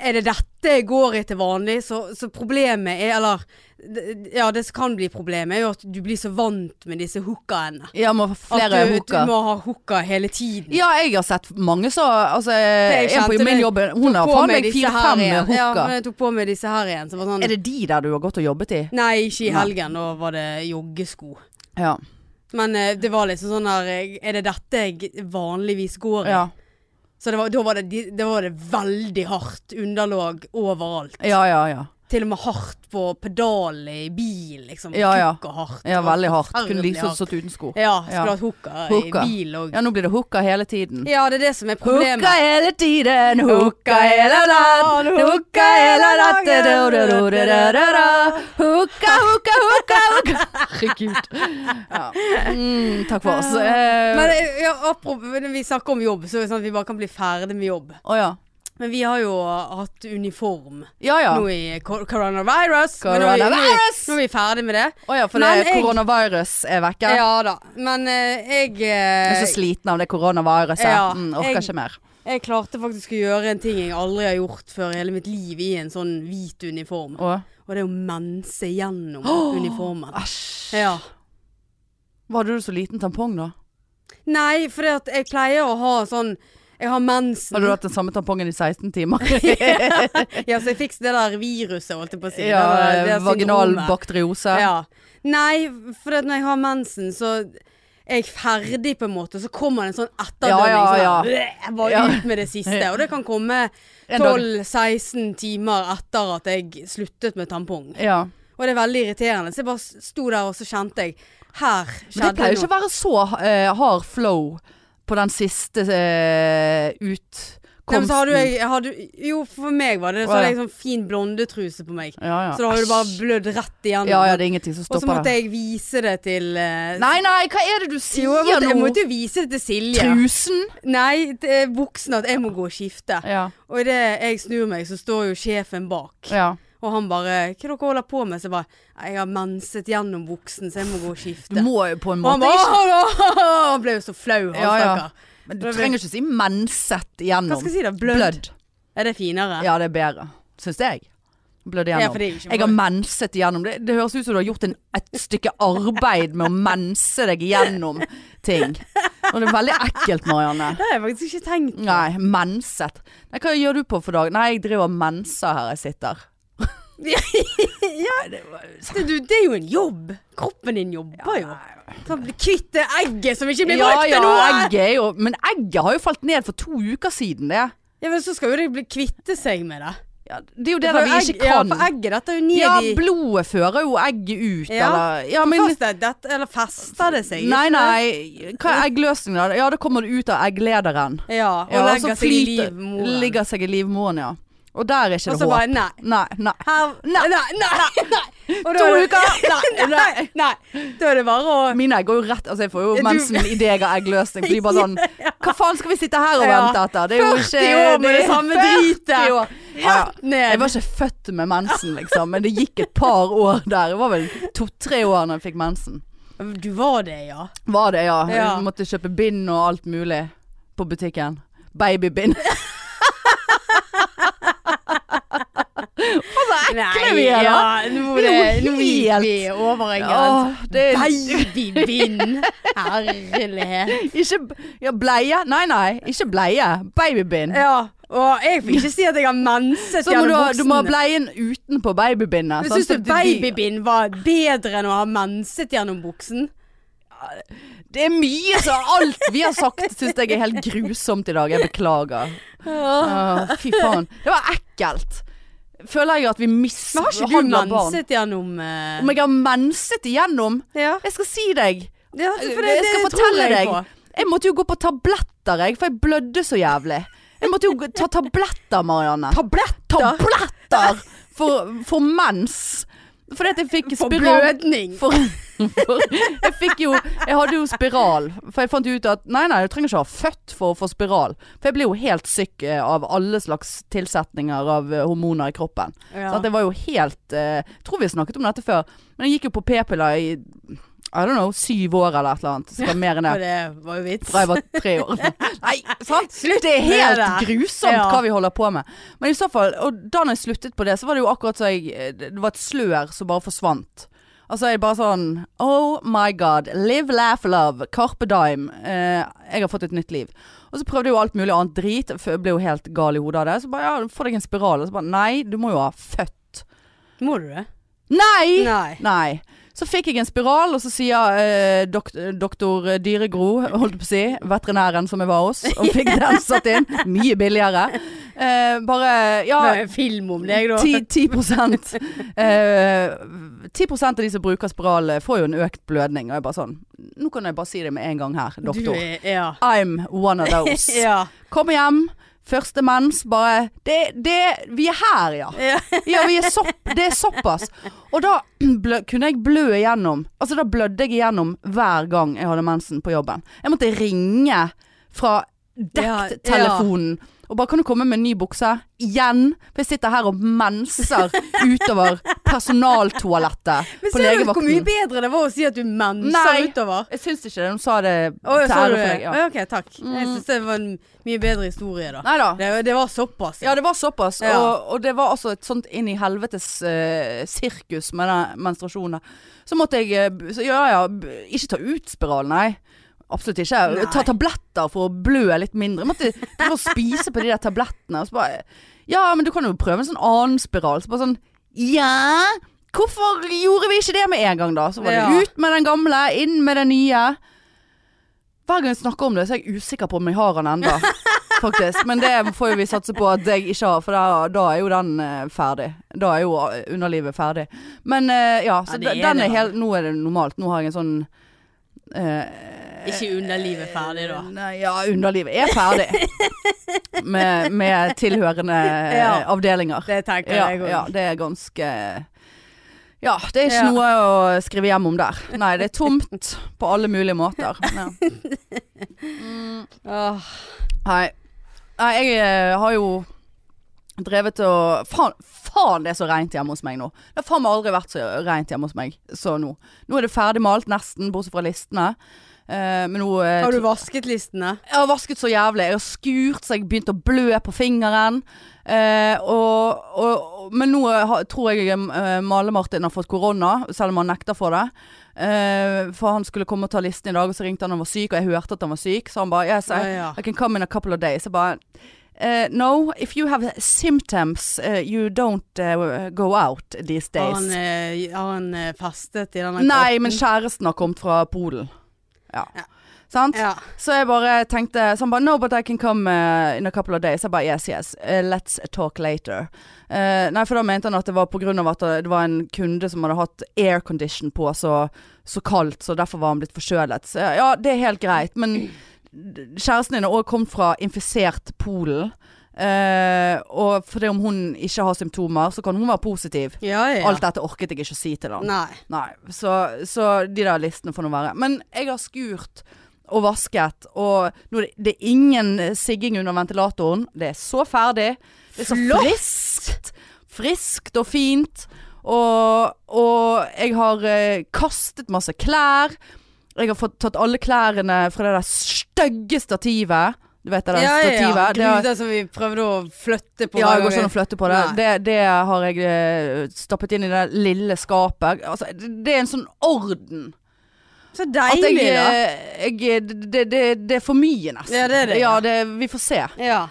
[SPEAKER 1] Er det dette jeg går i til vanlig? Så, så problemet er Eller d- ja, det som kan bli problemet, er jo at du blir så vant med disse hookaene.
[SPEAKER 2] Ja, må ha
[SPEAKER 1] At
[SPEAKER 2] flere
[SPEAKER 1] du, du
[SPEAKER 2] hooker.
[SPEAKER 1] må ha hooka hele tiden.
[SPEAKER 2] Ja, jeg har sett mange så Altså,
[SPEAKER 1] jeg
[SPEAKER 2] en på
[SPEAKER 1] kjente
[SPEAKER 2] min
[SPEAKER 1] det.
[SPEAKER 2] jobb Hun har
[SPEAKER 1] På
[SPEAKER 2] faen
[SPEAKER 1] med
[SPEAKER 2] meg
[SPEAKER 1] disse her
[SPEAKER 2] fire-fem
[SPEAKER 1] igjen. Ja,
[SPEAKER 2] hooker.
[SPEAKER 1] men jeg tok på meg disse her igjen. Så var det sånn
[SPEAKER 2] er det de der du har gått og jobbet i?
[SPEAKER 1] Nei, ikke i
[SPEAKER 2] Nei.
[SPEAKER 1] helgen. Da var det joggesko.
[SPEAKER 2] Ja.
[SPEAKER 1] Men eh, det var liksom sånn der eh, Er det dette jeg vanligvis går i?
[SPEAKER 2] Ja,
[SPEAKER 1] Så det var, da var det, de- da var det veldig hardt underlag overalt.
[SPEAKER 2] ja, ja. ja.
[SPEAKER 1] Til og med hardt på pedalen i bil, liksom.
[SPEAKER 2] Ja, ja.
[SPEAKER 1] Tjukk og hardt.
[SPEAKER 2] ja
[SPEAKER 1] Det var
[SPEAKER 2] veldig hardt. Kunne
[SPEAKER 1] forferdelig
[SPEAKER 2] like liksom
[SPEAKER 1] hardt.
[SPEAKER 2] stått uten sko.
[SPEAKER 1] Ja, skulle
[SPEAKER 2] Ja.
[SPEAKER 1] hatt hooker,
[SPEAKER 2] Hooker.
[SPEAKER 1] i bil òg. Ja.
[SPEAKER 2] Ja, nå blir det hooker hele tiden.
[SPEAKER 1] det er det som er problemet.
[SPEAKER 2] Hooker hele tiden, hooker hele dagen. Hooker hele natten. du, du, du, du, du, du, du. Hooker, hooker, hooker, hooker. Herregud. Ja. Mm, takk for oss. Eh,
[SPEAKER 1] Men eh, ja, apropos, når vi snakker om jobb, så er det sånn at vi bare kan bli ferdig med jobb.
[SPEAKER 2] Å ja.
[SPEAKER 1] Men vi har jo hatt uniform
[SPEAKER 2] Ja ja.
[SPEAKER 1] nå i kor- coronavirus. Men nå er vi- Nå er
[SPEAKER 2] Coronavirus!
[SPEAKER 1] vi, nå er vi ferdig med det.
[SPEAKER 2] Å ja, for
[SPEAKER 1] Men
[SPEAKER 2] det er
[SPEAKER 1] jeg-
[SPEAKER 2] koronavirus er vekke.
[SPEAKER 1] Ja, da. Men eh, jeg
[SPEAKER 2] Jeg er
[SPEAKER 1] eh,
[SPEAKER 2] så sliten av det koronaviruset.
[SPEAKER 1] Ja,
[SPEAKER 2] mm, orker
[SPEAKER 1] jeg-
[SPEAKER 2] ikke mer.
[SPEAKER 1] Jeg klarte faktisk å gjøre en ting jeg aldri har gjort før i hele mitt liv i en sånn hvit uniform.
[SPEAKER 2] Å,
[SPEAKER 1] Og det er å mense gjennom uniformen.
[SPEAKER 2] Æsj.
[SPEAKER 1] Ja.
[SPEAKER 2] Var du så liten tampong, da?
[SPEAKER 1] Nei, for at jeg pleier å ha sånn Jeg har mensen.
[SPEAKER 2] Hadde du hatt den samme tampongen i 16
[SPEAKER 1] *laughs*
[SPEAKER 2] timer?
[SPEAKER 1] Ja, så jeg fikk det der viruset, holdt jeg på å si.
[SPEAKER 2] ja,
[SPEAKER 1] det der, det der
[SPEAKER 2] vaginal
[SPEAKER 1] syndromet.
[SPEAKER 2] bakteriose.
[SPEAKER 1] Ja. Nei, for at når jeg har mensen, så er jeg ferdig på en måte, og så kommer det en sånn
[SPEAKER 2] Ja,
[SPEAKER 1] etterdønning.
[SPEAKER 2] ja, ja.
[SPEAKER 1] Sånn, «Bleh!» jeg var
[SPEAKER 2] Ja.
[SPEAKER 1] ut med det siste. Og det kan komme
[SPEAKER 2] En dag-
[SPEAKER 1] 12-16 timer etter at jeg sluttet med tampong.
[SPEAKER 2] Ja.
[SPEAKER 1] Og det er veldig irriterende. Så jeg bare sto der, og så kjente jeg Her
[SPEAKER 2] Det
[SPEAKER 1] skjedde
[SPEAKER 2] pleier jo
[SPEAKER 1] det
[SPEAKER 2] ikke å være så eh, hard flow på den siste eh,
[SPEAKER 1] Nei, men så hadde jo
[SPEAKER 2] utkomsten.
[SPEAKER 1] jeg, jeg hadde, jo, for meg var det det. Så
[SPEAKER 2] Å, ja.
[SPEAKER 1] hadde jeg sånn fin blondetruse på meg.
[SPEAKER 2] Ja, ja.
[SPEAKER 1] Så da hadde det bare
[SPEAKER 2] Æsj.
[SPEAKER 1] blødd rett igjennom.
[SPEAKER 2] Ja, ja, det er ingenting som
[SPEAKER 1] og så
[SPEAKER 2] stopper
[SPEAKER 1] måtte
[SPEAKER 2] det.
[SPEAKER 1] jeg vise det til eh,
[SPEAKER 2] Nei, nei, hva er det du sier
[SPEAKER 1] Jo, jeg måtte, jeg
[SPEAKER 2] nå?
[SPEAKER 1] måtte jo vise det til Silje.
[SPEAKER 2] Trusen?
[SPEAKER 1] Nei, det er voksen at jeg må gå og skifte.
[SPEAKER 2] Ja.
[SPEAKER 1] Og idet jeg snur meg, så står jo sjefen bak.
[SPEAKER 2] ja.
[SPEAKER 1] Og han bare 'Hva dere holder på med?' Så jeg bare «Nei, 'Jeg har menset gjennom voksen, så jeg må gå og
[SPEAKER 2] Du
[SPEAKER 1] skifte'.
[SPEAKER 2] må jo på en
[SPEAKER 1] Og han bare
[SPEAKER 2] måte ikke
[SPEAKER 1] «Åh!» Han ble jo så flau, han
[SPEAKER 2] Ja, ja.
[SPEAKER 1] stakkar.
[SPEAKER 2] Men du trenger ikke si menset
[SPEAKER 1] Hva
[SPEAKER 2] igjennom.
[SPEAKER 1] skal jeg si da? Blødd?
[SPEAKER 2] Blødd.
[SPEAKER 1] Er det finere?
[SPEAKER 2] Ja, det er bedre. Syns jeg. Blødd
[SPEAKER 1] Ja,
[SPEAKER 2] igjennom.
[SPEAKER 1] for det er jo ikke
[SPEAKER 2] Jeg har menset igjennom. Det, det høres ut som du har gjort en, et stykke arbeid med å mense deg igjennom ting. Og det er veldig ekkelt, Marianne.
[SPEAKER 1] Det har jeg faktisk ikke tenkt på.
[SPEAKER 2] Nei, menset. Nei, hva gjør du på for dag? Nei, jeg driver og menser her jeg sitter.
[SPEAKER 1] Det, du, det er jo en jobb. Kroppen din jobber jo. Sånn, bli Kvitt det egget som ikke blir
[SPEAKER 2] Ja,
[SPEAKER 1] brukt til
[SPEAKER 2] ja,
[SPEAKER 1] noe!
[SPEAKER 2] egget er jo Men egget har jo falt ned for to uker siden, det.
[SPEAKER 1] Ja, men så skal jo det bli kvitte seg med det.
[SPEAKER 2] Ja, det er jo det der
[SPEAKER 1] For
[SPEAKER 2] vi
[SPEAKER 1] egg-
[SPEAKER 2] ikke
[SPEAKER 1] Ja,
[SPEAKER 2] kan.
[SPEAKER 1] for egget dette er jo ned
[SPEAKER 2] Ja,
[SPEAKER 1] i
[SPEAKER 2] blodet fører jo egget ut,
[SPEAKER 1] Ja,
[SPEAKER 2] eller Ja, men
[SPEAKER 1] Fast det, dette, Eller fester det seg?
[SPEAKER 2] Nei,
[SPEAKER 1] ikke det?
[SPEAKER 2] nei. Hva er eggløsningen, da? Ja, da kommer det ut av egglederen.
[SPEAKER 1] Ja, og
[SPEAKER 2] Ja,
[SPEAKER 1] legger seg i livmoren.
[SPEAKER 2] ligger seg i livmoren, ja. Og der er ikke
[SPEAKER 1] Og
[SPEAKER 2] det
[SPEAKER 1] så
[SPEAKER 2] håp.
[SPEAKER 1] bare nei.
[SPEAKER 2] Nei, nei.
[SPEAKER 1] Her, nei, nei,
[SPEAKER 2] *laughs*
[SPEAKER 1] nei, Og da
[SPEAKER 2] To
[SPEAKER 1] er det-
[SPEAKER 2] uker! *laughs* Nei, nei.
[SPEAKER 1] nei, nei. Da er det bare å
[SPEAKER 2] Mine egg går jo rett Altså, jeg får jo
[SPEAKER 1] Du-
[SPEAKER 2] mensen idet jeg har eggløsning. For
[SPEAKER 1] *laughs*
[SPEAKER 2] de bare sånn Hva faen skal vi sitte her og
[SPEAKER 1] Ja.
[SPEAKER 2] vente etter? Det er jo ikke
[SPEAKER 1] 40 år med det samme
[SPEAKER 2] 40
[SPEAKER 1] dritet.
[SPEAKER 2] år. Ja, ja.
[SPEAKER 1] Rett ned.
[SPEAKER 2] Jeg var ikke født med mensen, liksom. Men det gikk et par år der. Jeg var vel to-tre år da jeg fikk mensen.
[SPEAKER 1] Du var det, ja.
[SPEAKER 2] Var det, ja.
[SPEAKER 1] Ja.
[SPEAKER 2] Jeg måtte kjøpe bind og alt mulig på butikken. Babybind.
[SPEAKER 1] Nei,
[SPEAKER 2] vi er, da.
[SPEAKER 1] ja, nå
[SPEAKER 2] Vi er
[SPEAKER 1] er det-
[SPEAKER 2] jo
[SPEAKER 1] nå gikk
[SPEAKER 2] helt-
[SPEAKER 1] vi over en grense.
[SPEAKER 2] Åh, det er
[SPEAKER 1] Babybind. Herlighet.
[SPEAKER 2] *laughs* ikke Ja, bleie? Nei, nei. Ikke bleie. Babybind.
[SPEAKER 1] Ja, og jeg får ikke si at jeg har menset
[SPEAKER 2] Så må du,
[SPEAKER 1] gjennom
[SPEAKER 2] ha- du må ha
[SPEAKER 1] buksene.
[SPEAKER 2] bleien utenpå babybindet.
[SPEAKER 1] Men
[SPEAKER 2] sant?
[SPEAKER 1] Syns du
[SPEAKER 2] Så de-
[SPEAKER 1] babybind var bedre enn å ha menset gjennom buksen?
[SPEAKER 2] Det er mye, så alt vi har sagt syns jeg er helt grusomt i dag. Jeg beklager. Åh, fy faen. Det var ekkelt. Føler jeg at vi
[SPEAKER 1] Men har ikke du
[SPEAKER 2] mishandler barn.
[SPEAKER 1] menset gjennom eh,
[SPEAKER 2] Om jeg har menset igjennom?
[SPEAKER 1] Ja,
[SPEAKER 2] Jeg skal si deg.
[SPEAKER 1] ja for det, det,
[SPEAKER 2] jeg Altså, skal
[SPEAKER 1] det tror
[SPEAKER 2] fortelle
[SPEAKER 1] jeg
[SPEAKER 2] deg.
[SPEAKER 1] på.
[SPEAKER 2] Jeg måtte jo gå på tabletter, jeg, for jeg blødde så jævlig. Jeg måtte jo gå- ta tabletter, Marianne.
[SPEAKER 1] Tabletter?
[SPEAKER 2] Tabletter for, for mens. Fordi at jeg fikk
[SPEAKER 1] For
[SPEAKER 2] spiral...
[SPEAKER 1] blødning.
[SPEAKER 2] For, for, jeg fikk jo Jeg hadde jo spiral. For jeg fant jo ut at nei, nei, du trenger ikke ha født for å få spiral. For jeg ble jo helt syk eh, av alle slags tilsetninger av eh, hormoner i kroppen.
[SPEAKER 1] Ja.
[SPEAKER 2] Så at jeg var jo helt eh, Jeg tror vi har snakket om dette før, men jeg gikk jo på p-piller i I don't know, syv år eller et eller annet. Skal
[SPEAKER 1] *laughs*
[SPEAKER 2] mer enn det.
[SPEAKER 1] For det var jo vits.
[SPEAKER 2] Fra jeg var tre år. Nei, sant?
[SPEAKER 1] Slutt
[SPEAKER 2] Det er helt
[SPEAKER 1] med det.
[SPEAKER 2] grusomt
[SPEAKER 1] Ja.
[SPEAKER 2] hva vi holder på med. Men i så fall, og da når jeg sluttet på det, så var det jo akkurat så jeg eh, Det var et slør som bare forsvant. Altså jeg bare sånn Oh my god. Live, laugh, love. Carpe Dime. Eh, jeg har fått et nytt liv. Og så prøvde jeg jo alt mulig annet drit. for Jeg ble jo helt gal i hodet av det. Så bare ja, få deg en spiral. Og så bare nei, du må jo ha født.
[SPEAKER 1] Må du det?
[SPEAKER 2] Nei!
[SPEAKER 1] Nei.
[SPEAKER 2] Nei. Så fikk jeg en spiral, og så sier eh, dokt, doktor Dyregro, holdt jeg på å si, veterinæren som jeg var hos, og
[SPEAKER 1] *laughs*
[SPEAKER 2] fikk den satt inn. Mye billigere. Eh, bare ja,
[SPEAKER 1] Det er en film om deg, da.
[SPEAKER 2] 10, 10%, eh, 10 av de som bruker spiral, eh, får jo en økt blødning. Og jeg bare sånn Nå kan jeg bare si det med en gang her,
[SPEAKER 1] Du
[SPEAKER 2] doktor.
[SPEAKER 1] er Ja.
[SPEAKER 2] I'm one of
[SPEAKER 1] *laughs*
[SPEAKER 2] those.
[SPEAKER 1] ja.
[SPEAKER 2] Kom hjem. Første mens, bare det, det Vi er her, ja.
[SPEAKER 1] Ja.
[SPEAKER 2] *laughs* Ja, vi er sopp, det er såpass. Og da *clears throat* blø, kunne jeg blø igjennom. Altså, da blødde jeg igjennom hver gang jeg hadde mensen på jobben. Jeg måtte ringe fra
[SPEAKER 1] Ah,
[SPEAKER 2] dekktelefonen. Og bare kan du komme med en ny bukse? Igjen. For jeg sitter her og menser utover personaltoalettet
[SPEAKER 1] Men ser du
[SPEAKER 2] på
[SPEAKER 1] hvor mye
[SPEAKER 2] legevakten.
[SPEAKER 1] bedre det var å si at du
[SPEAKER 2] Nei.
[SPEAKER 1] menser utover?
[SPEAKER 2] Jeg syns ikke det. Hun sa det
[SPEAKER 1] Å,
[SPEAKER 2] til
[SPEAKER 1] sa du
[SPEAKER 2] ære for
[SPEAKER 1] det?
[SPEAKER 2] deg. Ja. Mm.
[SPEAKER 1] Å, Ok, takk. Jeg syns det var en mye bedre historie, da.
[SPEAKER 2] Neida.
[SPEAKER 1] Det, det var såpass.
[SPEAKER 2] Ja, det var såpass.
[SPEAKER 1] altså. Ja.
[SPEAKER 2] Og, og det var altså et sånt inn i helvetes eh, sirkus med den menstruasjonen. Så måtte jeg eh, b- så, Ja ja, b- ikke ta ut spiral, nei. Absolutt ikke.
[SPEAKER 1] Nei.
[SPEAKER 2] Ta tabletter for å blø litt mindre. Jeg måtte drive og spise på de der tablettene. Og så bare Ja, men du kan jo prøve en sånn annen spiral. Så bare sånn Ja? Hvorfor gjorde vi ikke det med en gang, da? Så var det
[SPEAKER 1] Ja.
[SPEAKER 2] ut med den gamle, inn med den nye. Hver gang jeg snakker om det, så er jeg usikker på om jeg har han enda. faktisk. Men det får jo vi satse på at jeg ikke har, for da, da er jo den eh, ferdig. Da er jo eh, underlivet ferdig. Men eh, ja, så
[SPEAKER 1] Ja, det er
[SPEAKER 2] de- den
[SPEAKER 1] det,
[SPEAKER 2] er
[SPEAKER 1] da.
[SPEAKER 2] helt Nå er det normalt. Nå har jeg en sånn eh,
[SPEAKER 1] Ikke underlivet ferdig, da.
[SPEAKER 2] Nei, ja, underlivet er
[SPEAKER 1] *laughs*
[SPEAKER 2] ferdig. Med, med tilhørende eh,
[SPEAKER 1] Ja.
[SPEAKER 2] avdelinger.
[SPEAKER 1] Det tenker
[SPEAKER 2] Ja,
[SPEAKER 1] jeg òg.
[SPEAKER 2] ja, det er ganske Ja, det er ikke
[SPEAKER 1] Ja.
[SPEAKER 2] noe å skrive hjem om der. Nei, det er tomt på alle mulige måter. Ja.
[SPEAKER 1] *laughs* Åh,
[SPEAKER 2] Nei. Nei, jeg eh, har jo drevet og faen, faen, det er så rent hjemme hos meg nå. Det har faen meg aldri vært så rent hjemme hos meg som nå. Nå er det ferdig malt, nesten, bortsett fra listene. Eh, men nå eh,
[SPEAKER 1] Har du vasket listene?
[SPEAKER 2] Jeg har vasket så jævlig. Jeg har skurt så jeg begynte å blø på fingeren. Eh, og, og, men nå eh, har- tror jeg eh, Male-Martin har fått korona, selv om han nekter for det. Eh, for han skulle komme og ta listen i dag, og så ringte han han var syk, og jeg hørte at han var syk. Så han bare yes, I,
[SPEAKER 1] Ja, ja.
[SPEAKER 2] I can come in a couple of days. Jeg bare eh, No, if you have symptoms, eh, you don't eh, go out these
[SPEAKER 1] Har
[SPEAKER 2] days.
[SPEAKER 1] han, eh, har han eh, festet i denne
[SPEAKER 2] Nei, men
[SPEAKER 1] kroppen?
[SPEAKER 2] kjæresten har kommet fra Polen. Ja.
[SPEAKER 1] Ja.
[SPEAKER 2] Sant?
[SPEAKER 1] ja.
[SPEAKER 2] Så jeg bare tenkte Så han bare No, but I can come eh, in a couple of days. Jeg bare yes, yes. eh, let's talk later. Eh, nei, for da mente han at det var pga. at eh, det var en kunde som hadde hatt aircondition på så, så kaldt, så derfor var han blitt forkjølet. Så jeg, ja, det er helt greit, men kjæresten din har òg kommet fra infisert Polen. Eh, og fordi om hun ikke har symptomer, så kan hun være positiv.
[SPEAKER 1] ja, ja.
[SPEAKER 2] Alt dette orket jeg ikke å si til han.
[SPEAKER 1] Nei.
[SPEAKER 2] Nei, så, så de der listene får nå være. Men jeg har skurt og vasket, og nå er det, det er ingen eh, sigging under ventilatoren. Det er så ferdig. Det er så
[SPEAKER 1] Flott!
[SPEAKER 2] friskt. Friskt og fint. Og, og jeg har eh, kastet masse klær. Jeg har fått tatt alle klærne fra det der stygge stativet. Du vet det der
[SPEAKER 1] Ja, ja, ja.
[SPEAKER 2] stativet? Det har-
[SPEAKER 1] Gluter som vi prøvde å flytte på.
[SPEAKER 2] ja,
[SPEAKER 1] hver
[SPEAKER 2] det går
[SPEAKER 1] gang
[SPEAKER 2] sånn ikke an å
[SPEAKER 1] vi-
[SPEAKER 2] flytte på det.
[SPEAKER 1] Nei.
[SPEAKER 2] det. Det har jeg eh, stappet inn i det lille skapet. Altså, det det er en sånn orden.
[SPEAKER 1] Så
[SPEAKER 2] At
[SPEAKER 1] deilig,
[SPEAKER 2] jeg,
[SPEAKER 1] da.
[SPEAKER 2] eh, jeg det, det, det er for mye, nesten.
[SPEAKER 1] Ja, det er det,
[SPEAKER 2] Ja,
[SPEAKER 1] ja.
[SPEAKER 2] det, vi får se.
[SPEAKER 1] eh, Ja.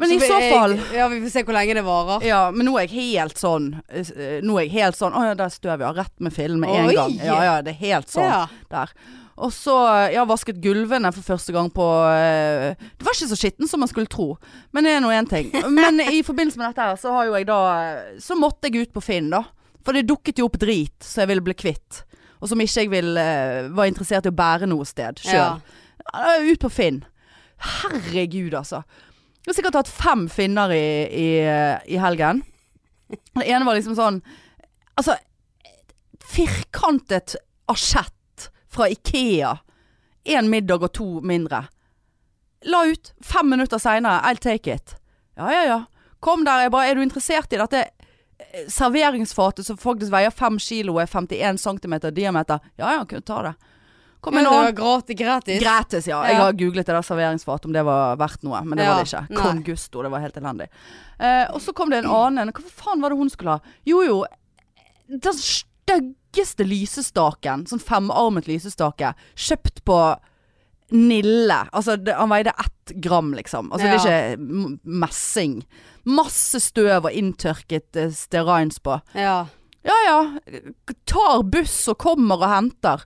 [SPEAKER 2] Men i
[SPEAKER 1] vi-
[SPEAKER 2] så
[SPEAKER 1] jeg-
[SPEAKER 2] fall
[SPEAKER 1] Ja, vi får se hvor lenge det varer.
[SPEAKER 2] ja, men nå er jeg helt sånn eh, Nå er jeg helt sånn Å ja, der støv, ja. Rett med film med en
[SPEAKER 1] Oi!
[SPEAKER 2] gang. Ja ja, det er helt sånn
[SPEAKER 1] Ja.
[SPEAKER 2] der. Og så Jeg har vasket gulvene for første gang på eh, Det var ikke så skitten som man skulle tro, men det er nå én ting. Men i forbindelse med dette her, så har jo jeg da Så måtte jeg ut på Finn, da. For det dukket jo opp drit som jeg ville bli kvitt. Og som ikke jeg vil, eh, var interessert i å bære noe sted
[SPEAKER 1] Ja.
[SPEAKER 2] sjøl. Eh, Ut på Finn. Herregud, altså. Jeg har sikkert hatt fem finner i, i, eh, i helgen. Den ene var liksom sånn Altså, firkantet asjett fra Ikea. Én middag og to mindre. La ut. Fem minutter seinere. I'll take it. Ja, ja, ja. Kom der. Jeg bare Er du interessert i dette eh, serveringsfatet som faktisk veier fem kilo og er 51 cm diameter? Ja, ja, kunne ta det. Kom
[SPEAKER 1] Men
[SPEAKER 2] en
[SPEAKER 1] det
[SPEAKER 2] annen.
[SPEAKER 1] var gratis. gratis.
[SPEAKER 2] Gratis, ja. Jeg
[SPEAKER 1] Ja.
[SPEAKER 2] har googlet det der serveringsfatet om det var verdt noe, men det
[SPEAKER 1] Ja,
[SPEAKER 2] var det ikke.
[SPEAKER 1] nei.
[SPEAKER 2] Con gusto, det var helt elendig. Eh, og så kom det en annen. Hva faen var det hun skulle ha? Jo jo, den styggeste lysestaken, sånn femarmet lysestake, kjøpt på Nille. Altså, det, han veide ett gram, liksom. Altså, det er ikke m- messing. Masse støv og inntørket eh, stearins på.
[SPEAKER 1] ja.
[SPEAKER 2] Ja ja, tar buss og kommer og henter.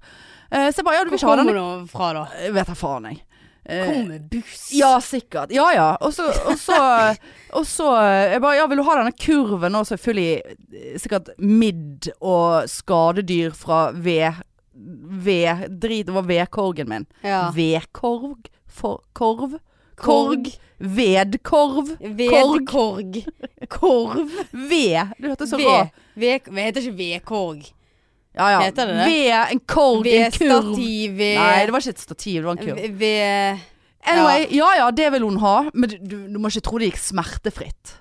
[SPEAKER 2] Eh, så jeg bare, ja
[SPEAKER 1] Hvor
[SPEAKER 2] du vil ikke ha
[SPEAKER 1] kommer
[SPEAKER 2] den?
[SPEAKER 1] du fra, da?
[SPEAKER 2] Vet da faen, jeg. Eh,
[SPEAKER 1] Kom med buss.
[SPEAKER 2] ja, sikkert. Ja, ja. Og så, og så, og så jeg bare, ja, Vil du ha denne kurven nå som er full i eh, sikkert midd og skadedyr fra ved... Ved... Drit, det var vedkorgen min.
[SPEAKER 1] Ja.
[SPEAKER 2] Vedkorg? For, korv?
[SPEAKER 1] Korg.
[SPEAKER 2] Korg? Vedkorv?
[SPEAKER 1] Vedkorg. Korg. Korv.
[SPEAKER 2] Ved. Du hørte så
[SPEAKER 1] Ved-
[SPEAKER 2] rart.
[SPEAKER 1] ved- Det heter ikke vedkorg.
[SPEAKER 2] Ja, ja.
[SPEAKER 1] Heter det det?
[SPEAKER 2] Ved, en korg, en kurv.
[SPEAKER 1] Vedstativ. ved-
[SPEAKER 2] Nei, det var ikke et stativ, det var en kurv.
[SPEAKER 1] ved- Ved
[SPEAKER 2] Anyway, ja ja, det vil hun ha, men du, du, du må ikke tro det gikk smertefritt.